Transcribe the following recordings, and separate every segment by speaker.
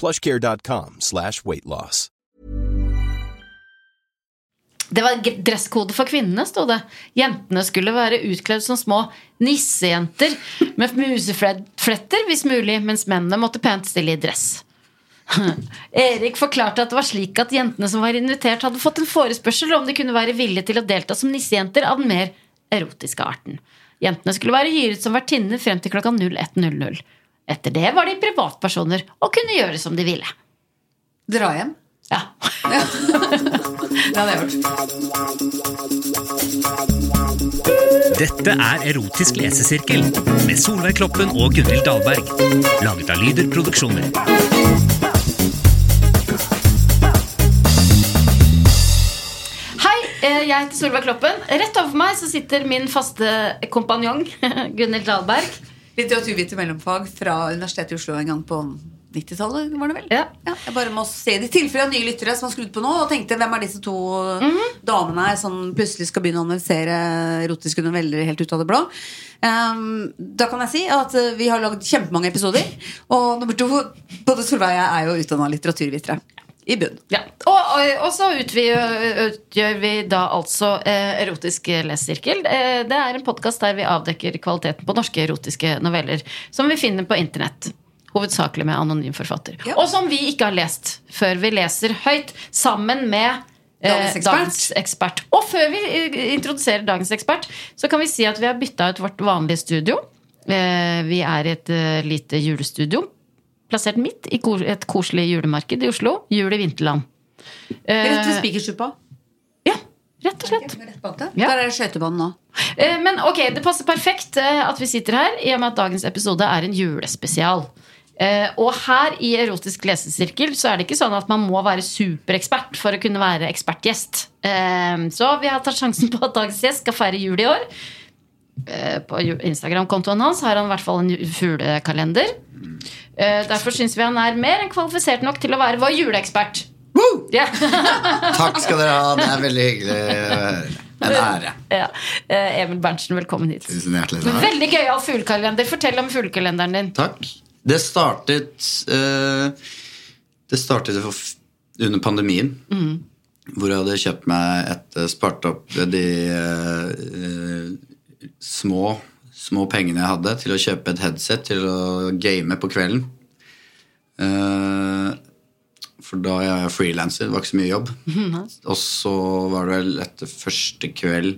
Speaker 1: plushcare.com slash weight loss.
Speaker 2: Det var g- dresskode for kvinnene, sto det. Jentene skulle være utkledd som små nissejenter med musefletter, hvis mulig, mens mennene måtte pent stille i dress. Erik forklarte at det var slik at jentene som var invitert, hadde fått en forespørsel om de kunne være villige til å delta som nissejenter av den mer erotiske arten. Jentene skulle være hyret som vertinner frem til klokka 01.00. Etter det var de privatpersoner og kunne gjøre som de ville.
Speaker 3: Dra hjem.
Speaker 2: Ja.
Speaker 3: Det hadde jeg gjort.
Speaker 4: Dette er Erotisk lesesirkel med Solveig Kloppen og Gunhild Dahlberg. Laget av Lyder Produksjoner.
Speaker 2: Hei, eh, jeg heter Solveig Kloppen. Rett over meg så sitter min faste kompanjong Gunhild Dahlberg.
Speaker 3: Litteraturviter mellomfag fra Universitetet i Oslo en gang på 90-tallet, var det vel?
Speaker 2: Ja.
Speaker 3: jeg bare må se det i tilfelle nye lyttere som har skrudd på nå og tenkte hvem er disse to
Speaker 2: Mhm.
Speaker 3: damene her som plutselig skal begynne å analysere erotiske noveller helt ut av det blå. Ehm, da kan jeg si at eh, vi har lagd kjempemange episoder. Og nummer to, både Solveig og jeg er jo utdanna litteraturvitere. I bunn.
Speaker 2: Ja. Og, og, og så utvi- utgjør vi da altså eh, Erotisk lesesirkel. Eh, det er en podkast der vi avdekker kvaliteten på norske erotiske noveller som vi finner på internett. Hovedsakelig med anonym forfatter.
Speaker 3: Ja.
Speaker 2: Og som vi ikke har lest før vi leser høyt sammen med eh,
Speaker 3: Dagens ekspert.
Speaker 2: ekspert. Og før vi eh, introduserer dagens ekspert, så kan vi si at vi har bytta ut vårt vanlige studio. Eh, Vi er i et eh, lite julestudio. Plassert midt i kos- et koselig julemarked i Oslo. Jul i Vinterland. Eh,
Speaker 3: Rett ved Spikersuppa.
Speaker 2: Ja, rett og slett.
Speaker 3: Rett bak det.
Speaker 2: Ja.
Speaker 3: Der er det skøytebanen nå.
Speaker 2: Eh, Men ok, det passer perfekt eh, at vi sitter her, i og med at dagens episode er en julespesial. Eh, Og her i Erotisk lesesirkel så er det ikke sånn at man må være superekspert for å kunne være ekspertgjest. Eh, Så vi har tatt sjansen på at dagens gjest skal feire jul i år. Eh, På ju- Instagram-kontoen hans har han i hvert fall en ju- fuglekalender. Eh, Derfor syns vi han er mer enn kvalifisert nok til å være vår juleekspert. Ja.
Speaker 5: Takk skal dere ha. Det er veldig hyggelig. En ære.
Speaker 2: ja. Eh, Emil Berntsen, velkommen hit.
Speaker 5: Tusen hjertelig
Speaker 2: Men
Speaker 5: takk.
Speaker 2: Veldig gøyal fuglekalender. Fortell om fuglekalenderen din.
Speaker 5: Takk. Det startet eh, Det startet for f- under pandemien. Hvor jeg hadde kjøpt meg et eh, Spart opp de eh, eh, små, små pengene jeg hadde, til å kjøpe et headset til å game på kvelden. Eh, for da er jeg frilanser, det var ikke så mye jobb. Og så var det vel etter første kveld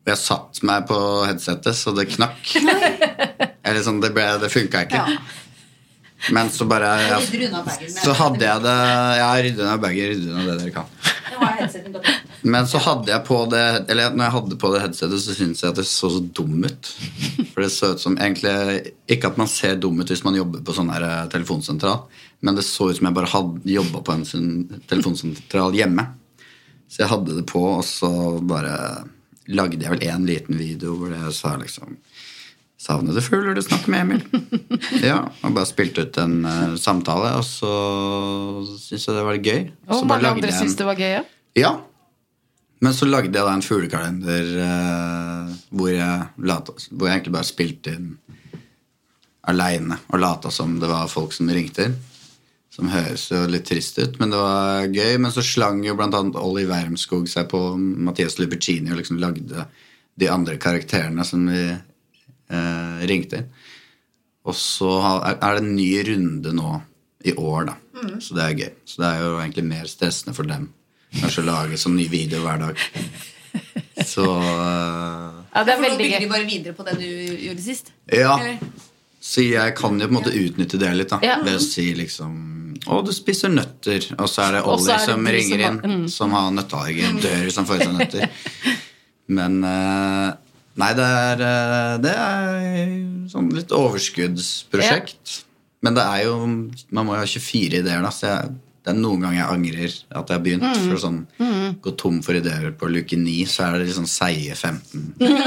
Speaker 5: hvor jeg satt meg på headsetet, så det knakk. Eller sånn, det, ble, det funka ikke.
Speaker 3: Ja.
Speaker 5: Men så bare
Speaker 3: Rydder unna bagen.
Speaker 5: Så hadde jeg det Ja, rydde unna bagen, rydde unna det dere kan.
Speaker 3: Nå har jeg headseten på.
Speaker 5: Men så hadde jeg på det Eller når jeg hadde på det headsetet, så syntes jeg at det så så dum ut. For det så ut som egentlig Ikke at man ser dum ut hvis man jobber på sånn her eh, telefonsentral, men det så ut som jeg bare hadde jobba på en sin- telefonsentral hjemme. Så jeg hadde det på, og så bare lagde jeg vel én liten video hvor jeg sa liksom Savnede fugler, du snakker med Emil. Ja, Og bare spilte ut en eh, samtale, og så syntes jeg det var litt gøy.
Speaker 2: Og
Speaker 5: så bare
Speaker 2: mange
Speaker 5: lagde
Speaker 2: andre
Speaker 5: jeg en-
Speaker 2: syns det var gøy, ja.
Speaker 5: ja. Men så lagde jeg da en fuglekalender eh, hvor, jeg lata, hvor jeg egentlig bare spilte inn aleine og lata som det var folk som ringte inn. Som høres jo litt trist ut, men det var gøy. Men så slang jo blant annet Olli Wermskog seg på Mathias Lubertini og liksom lagde de andre karakterene som vi eh, ringte inn. Og så har- er er det en ny runde nå i år, da. Så det er gøy. Så det er jo egentlig mer stressende for dem kanskje å lage sånn ny video hver dag. Så øh,
Speaker 2: Ja, det er
Speaker 3: For nå
Speaker 2: veldig
Speaker 3: bygger
Speaker 2: gøy.
Speaker 3: de bare videre på det du gjorde sist.
Speaker 5: Ja.
Speaker 3: Eller?
Speaker 5: Så jeg kan jo på en måte utnytte det litt, da.
Speaker 2: Ja.
Speaker 5: Ved å si liksom Å, du spiser nøtter. Og så er det
Speaker 2: Og så
Speaker 5: Ollie
Speaker 2: er det
Speaker 5: som
Speaker 2: du
Speaker 5: ringer
Speaker 2: som har- mm.
Speaker 5: inn, som har nøtteallergi. Dør hvis han får i seg nøtter. Men eh, Nei, det er, eh, det er sånn litt overskuddsprosjekt. Men det er jo Man må jo ha 24 ideer, da. Så jeg, det er noen ganger jeg angrer at jeg har begynt.
Speaker 2: Mm.
Speaker 5: For sånn gå tom for ideer på luke 9, så er det liksom seige 15. 15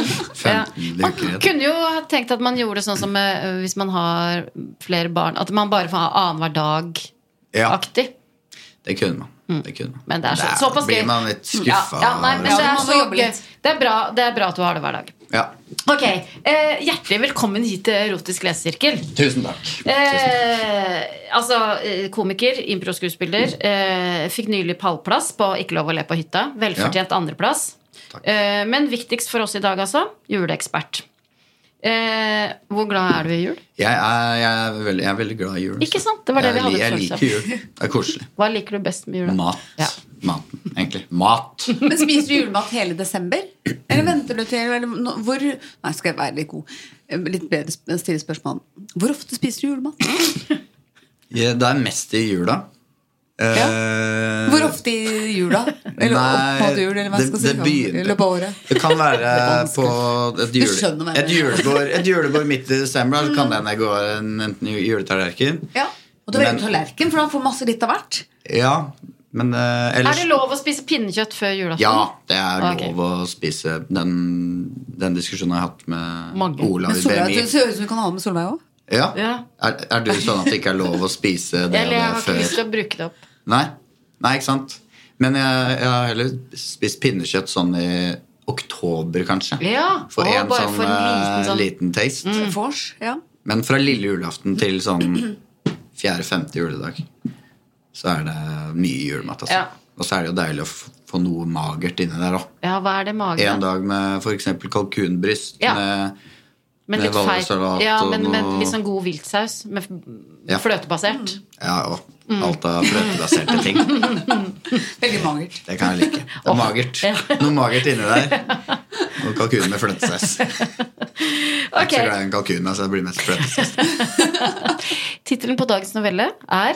Speaker 2: Man
Speaker 5: luker igjen.
Speaker 2: kunne jo ha tenkt at man gjorde sånn som eh, hvis man har flere barn, at man bare får ha annenhver dag-aktig.
Speaker 5: Ja. Det kunne man. Det kunne man.
Speaker 2: Mm. Men det er så,
Speaker 5: Der
Speaker 2: såpass gøy. Mm.
Speaker 5: blir man litt skuffa.
Speaker 2: Ja, ja, nei, men
Speaker 3: Ja,
Speaker 2: det,
Speaker 3: man
Speaker 2: er
Speaker 3: må
Speaker 2: så
Speaker 3: jobbe
Speaker 2: gøy.
Speaker 3: litt.
Speaker 2: det er bra Det er bra at du har det hver dag.
Speaker 5: Ja.
Speaker 2: Ok, eh, Hjertelig velkommen hit til Erotisk lesesirkel.
Speaker 5: Tusen takk.
Speaker 2: Eh, altså, eh, komiker, improskuespiller. Eh, fikk nylig pallplass på Ikke lov å le på hytta. Velfortjent andreplass.
Speaker 5: Takk.
Speaker 2: Eh, men viktigst for oss i dag, altså, juleekspert. Eh, hvor glad er du i jul?
Speaker 5: Jeg er, jeg, er veldig, jeg er veldig glad i jul. altså.
Speaker 2: Ikke sant? Det var det
Speaker 5: jeg,
Speaker 2: vi hadde
Speaker 5: li- Jeg
Speaker 2: følelse av.
Speaker 5: liker jul. Det er koselig.
Speaker 2: Hva liker du best med jula?
Speaker 5: Mat.
Speaker 2: Ja.
Speaker 5: Maten, egentlig. Mat!
Speaker 3: Men spiser du julemat hele desember? Eller venter du til eller, nå- hvor, Nei, skal jeg være litt god? Eh, Litt bedre sp- stille spørsmål. Hvor ofte spiser du julemat?
Speaker 5: Ja, Det er mest i jula.
Speaker 3: Ja.
Speaker 5: Eh,
Speaker 3: Hvor ofte i jula? Eller opp
Speaker 5: nei,
Speaker 3: mot jul, eller hva jeg
Speaker 5: det-
Speaker 3: skal si? Sånn,
Speaker 5: det begynner-
Speaker 3: Eller på året?
Speaker 5: Det kan være
Speaker 3: Det er
Speaker 5: på et,
Speaker 3: Du skjønner hva
Speaker 5: jule,
Speaker 3: jeg
Speaker 5: et,
Speaker 3: mener.
Speaker 5: julebord, et julebord midt i desember. da, Så kan det hende jeg går en, enten i juletallerken
Speaker 3: Ja. Og du har
Speaker 5: Men-
Speaker 3: egen tallerken, for han får masse litt av hvert.
Speaker 5: Ja, men eh, ellers
Speaker 2: Er det lov å spise pinnekjøtt før julaften?
Speaker 5: Ja, det er
Speaker 2: Sånn? Ah, Ok.
Speaker 5: lov å spise. Den, den diskusjonen har jeg hatt med
Speaker 2: Mange.
Speaker 5: Olav
Speaker 3: Men
Speaker 5: i
Speaker 3: Solveig,
Speaker 5: BMI.
Speaker 3: det ser ut som du kan ha det med Solveig òg.
Speaker 5: Ja.
Speaker 2: Ja.
Speaker 5: Er, er du sånn at det ikke er lov å spise det og
Speaker 2: Eller
Speaker 5: det
Speaker 2: jeg har ikke lyst
Speaker 5: før?
Speaker 2: til å bruke det opp.
Speaker 5: Nei? Nei, ikke sant? Men jeg, jeg har heller spist pinnekjøtt sånn i oktober, kanskje.
Speaker 2: Ja,
Speaker 5: For
Speaker 2: og
Speaker 5: en
Speaker 2: bare
Speaker 5: sånn,
Speaker 2: for en liten
Speaker 5: eh,
Speaker 2: sånn-
Speaker 5: liten taste.
Speaker 3: Vors. Ja.
Speaker 5: Men fra lille julaften til sånn fjerde-femte juledag så er det mye julemat. Altså.
Speaker 2: Ja.
Speaker 5: Og så er det jo deilig å f- få noe magert inni der òg.
Speaker 2: Ja, hva er det
Speaker 5: En
Speaker 2: magen?
Speaker 5: dag med f.eks. kalkunbryst
Speaker 2: Ja.
Speaker 5: med
Speaker 2: Men
Speaker 5: med
Speaker 2: litt feil.
Speaker 5: valmuesalat
Speaker 2: Ja,
Speaker 5: og
Speaker 2: men med
Speaker 5: noe-
Speaker 2: litt sånn god viltsaus. Med f-
Speaker 5: Ja.
Speaker 2: fløtebasert.
Speaker 5: ja, og alt av fløtebaserte ting.
Speaker 3: Veldig magert.
Speaker 5: Det kan jeg like. Det er magert. Noe magert inni der. Og kalkun med fløtesaus. Jeg er ikke
Speaker 2: Ok.
Speaker 5: så glad i en kalkun, altså det blir mest fløtesaus.
Speaker 2: Tittelen på dagens novelle er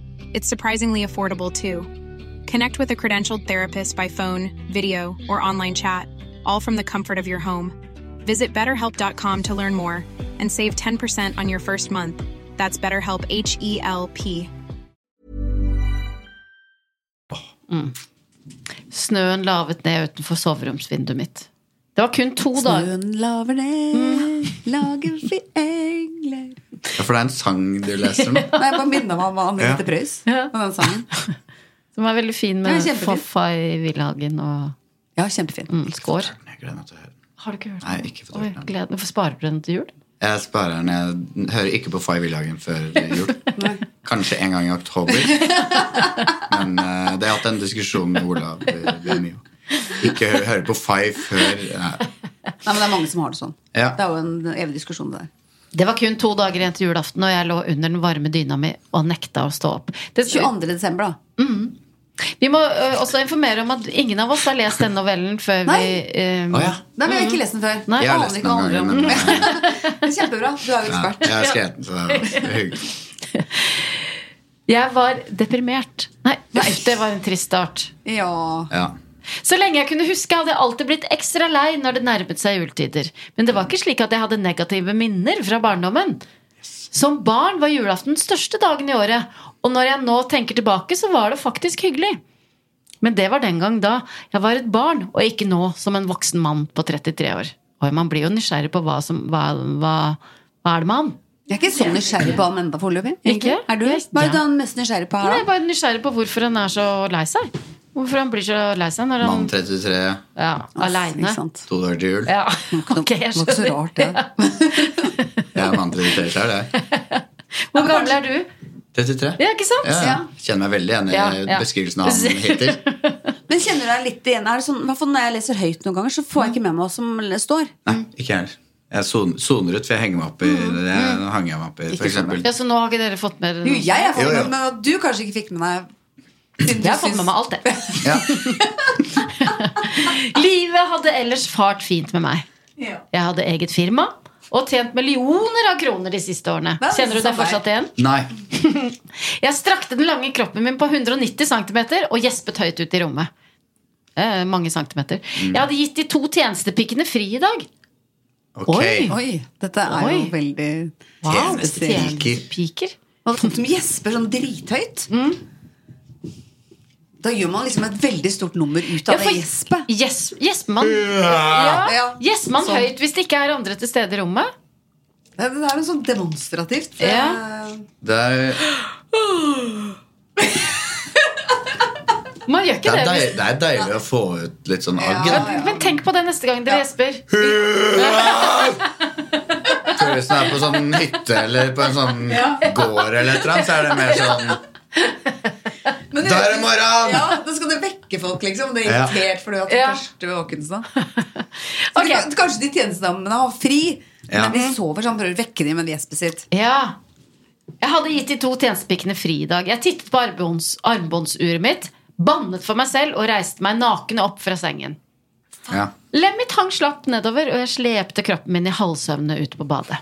Speaker 6: It's surprisingly affordable too. Connect with a credentialed therapist by phone, video, or online chat, all from the comfort of your home. Visit betterhelp.com to learn more and save 10% on your first month. That's BetterHelp, H E L P.
Speaker 2: Snøen lavet ned utenfor soveromsvinduet mitt. Det var kun to dager
Speaker 3: Snøen laver
Speaker 5: Mm.
Speaker 3: ned, lager eh. vi engler
Speaker 5: Ja, For det er en sang du leser nå.
Speaker 3: Nei, jeg bare minner meg om Anette
Speaker 5: Ja.
Speaker 3: Preus og den sangen.
Speaker 2: som var veldig fin
Speaker 3: Ja,
Speaker 2: med
Speaker 3: kjempefin.
Speaker 2: Faffa i Villhagen og
Speaker 3: Ja, kjempefin.
Speaker 2: mm, Skår.
Speaker 5: Jeg gleder meg til å høre den.
Speaker 2: Har du ikke hørt
Speaker 5: Nei, ikke fått
Speaker 2: Oi,
Speaker 5: hørt den.
Speaker 2: gleden. Hvorfor sparer du den til jul?
Speaker 5: Jeg sparer den. Jeg hører ikke på Fay Villhagen før jul. Kanskje en gang i oktober. Men eh, det har jeg hatt en diskusjon med Olav eh, BMI. Ikke hø- høre på Fay før eh,
Speaker 3: Nei, men det er mange som har det sånn.
Speaker 5: Ja.
Speaker 3: Det er jo en evig diskusjon, det der.
Speaker 2: Det var kun to dager igjen til julaften, og jeg lå under den varme dyna mi og nekta å stå opp. Det,
Speaker 3: 22. desember, da.
Speaker 2: vi må ø, også informere om at ingen av oss har lest denne novellen før vi
Speaker 3: Nei.
Speaker 2: ø,
Speaker 5: Å ja.
Speaker 3: Nei, men jeg har ikke lest den før.
Speaker 2: Nei.
Speaker 5: Jeg har
Speaker 3: Aner
Speaker 5: lest
Speaker 3: ikke
Speaker 5: den
Speaker 3: hva
Speaker 5: noen
Speaker 3: det handler
Speaker 5: ganger,
Speaker 3: om.
Speaker 5: men eh,
Speaker 3: Men Kjempebra. Du er jo
Speaker 5: ja,
Speaker 3: ekspert.
Speaker 5: jeg har skrevet den, så det er hyggelig.
Speaker 2: Jeg var deprimert. Nei, uff, det var en trist start.
Speaker 3: Ja.
Speaker 5: Ja.
Speaker 2: Så lenge jeg kunne huske, hadde jeg alltid blitt ekstra lei når det nærmet seg juletider. Men det var ikke slik at jeg hadde negative minner fra barndommen. Som barn var julaften den største dagen i året, og når jeg nå tenker tilbake, så var det faktisk hyggelig. Men det var den gang da jeg var et barn, og ikke nå som en voksen mann på 33 år. Og man blir jo nysgjerrig på hva som Hva, hva, hva er det med han?
Speaker 3: Jeg er ikke så nysgjerrig på han ennå foreløpig. egentlig.
Speaker 2: Ikke?
Speaker 3: Er du?
Speaker 2: Jeg-
Speaker 3: Hva er
Speaker 2: ja.
Speaker 3: du da mest nysgjerrig på
Speaker 2: Nei,
Speaker 3: her,
Speaker 2: jeg er
Speaker 3: da?
Speaker 2: bare nysgjerrig på hvorfor han er så lei seg. Hvorfor han blir så lei seg når han
Speaker 5: Mann 33,
Speaker 2: ja, aleine.
Speaker 3: Ikke sant?
Speaker 5: to dager til jul.
Speaker 2: Ja,
Speaker 3: noe-
Speaker 2: ok, jeg
Speaker 3: det var ikke så
Speaker 2: skjønner.
Speaker 3: rart, det.
Speaker 5: Jeg er mann 33 selv, jeg.
Speaker 2: Hvor gammel er du?
Speaker 5: 33.
Speaker 2: Ja, ikke sant?
Speaker 5: Ja, ja. Kjenner meg veldig igjen i
Speaker 2: Ja, ja.
Speaker 5: beskrivelsen av han hittil.
Speaker 3: Men kjenner du deg litt igjen? Er det sånn, i hvert fall når jeg leser høyt noen ganger, så får jeg ikke med meg hva som står.
Speaker 5: Nei, ikke heller. Jeg son- soner ut, for jeg henger meg opp i det hang jeg meg opp i, for eksempel.
Speaker 2: Ja, Så nå har ikke dere fått med dere
Speaker 3: Jo,
Speaker 2: noe?
Speaker 3: jeg har fått
Speaker 5: Jo,
Speaker 3: med
Speaker 5: jo.
Speaker 3: meg, men at du kanskje ikke fikk med deg siden du
Speaker 2: Jeg har fått
Speaker 3: syns-
Speaker 2: med meg alt, det.
Speaker 5: Ja.
Speaker 2: Livet hadde ellers fart fint med meg.
Speaker 3: Ja.
Speaker 2: Jeg hadde eget firma og tjent millioner av kroner de siste årene.
Speaker 3: Hva er det
Speaker 2: Kjenner du
Speaker 3: som
Speaker 2: deg
Speaker 3: er?
Speaker 2: fortsatt igjen?
Speaker 5: Nei.
Speaker 2: Jeg strakte den lange kroppen min på 190 cm og gjespet høyt ut i rommet. Eh, mange centimeter.
Speaker 5: Mm.
Speaker 2: Jeg hadde gitt de to tjenestepikkene fri i dag.
Speaker 5: Ok.
Speaker 2: Oi.
Speaker 3: Oi, dette er jo
Speaker 2: Oi.
Speaker 3: veldig
Speaker 2: Wow,
Speaker 5: Tjenestepiker.
Speaker 2: tjenestepiker.
Speaker 3: Og sånn som gjesper sånn drithøyt. Da gjør man liksom et veldig stort nummer ut
Speaker 2: Mm. Ja,
Speaker 3: av
Speaker 2: for
Speaker 3: det gjespet.
Speaker 2: gjes- Gjesper man ja,
Speaker 3: Ja.
Speaker 2: gjesper man
Speaker 3: Sånn.
Speaker 2: høyt hvis det ikke er andre til stede i rommet?
Speaker 3: Det det er jo sånn demonstrativt.
Speaker 2: Ja.
Speaker 3: eh,
Speaker 5: Det er,
Speaker 2: Man gjør
Speaker 5: det,
Speaker 2: ikke det.
Speaker 5: er deil,
Speaker 2: hvis-
Speaker 5: det er deilig å få ut litt sånn agg.
Speaker 3: Ja,
Speaker 5: da.
Speaker 3: ja.
Speaker 2: Men tenk på det neste gang dere gjesper.
Speaker 5: For Hvis du er på sånn hytte eller på en sånn gård eller et eller annet, så er det mer sånn
Speaker 3: Men
Speaker 5: Da er det morgen!
Speaker 3: Ja, Da skal det vekke folk, liksom. Det er
Speaker 5: Ja.
Speaker 3: irritert fordi at det
Speaker 2: Ja.
Speaker 3: første våkenstad.
Speaker 2: Ok.
Speaker 3: Kanskje de tjenestedamene har fri,
Speaker 5: Ja.
Speaker 3: men de sover, så han prøver å vekke dem med det gjespet sitt.
Speaker 2: Ja. Jeg hadde gitt de to tjenestepikkene fri i dag. Jeg tittet på armbånds, armbåndsuret mitt, bannet for meg selv og reiste meg naken opp fra sengen.
Speaker 5: ja.
Speaker 2: Lemmet mitt hang slapt nedover, og jeg slepte kroppen min i halvsøvne ut på badet.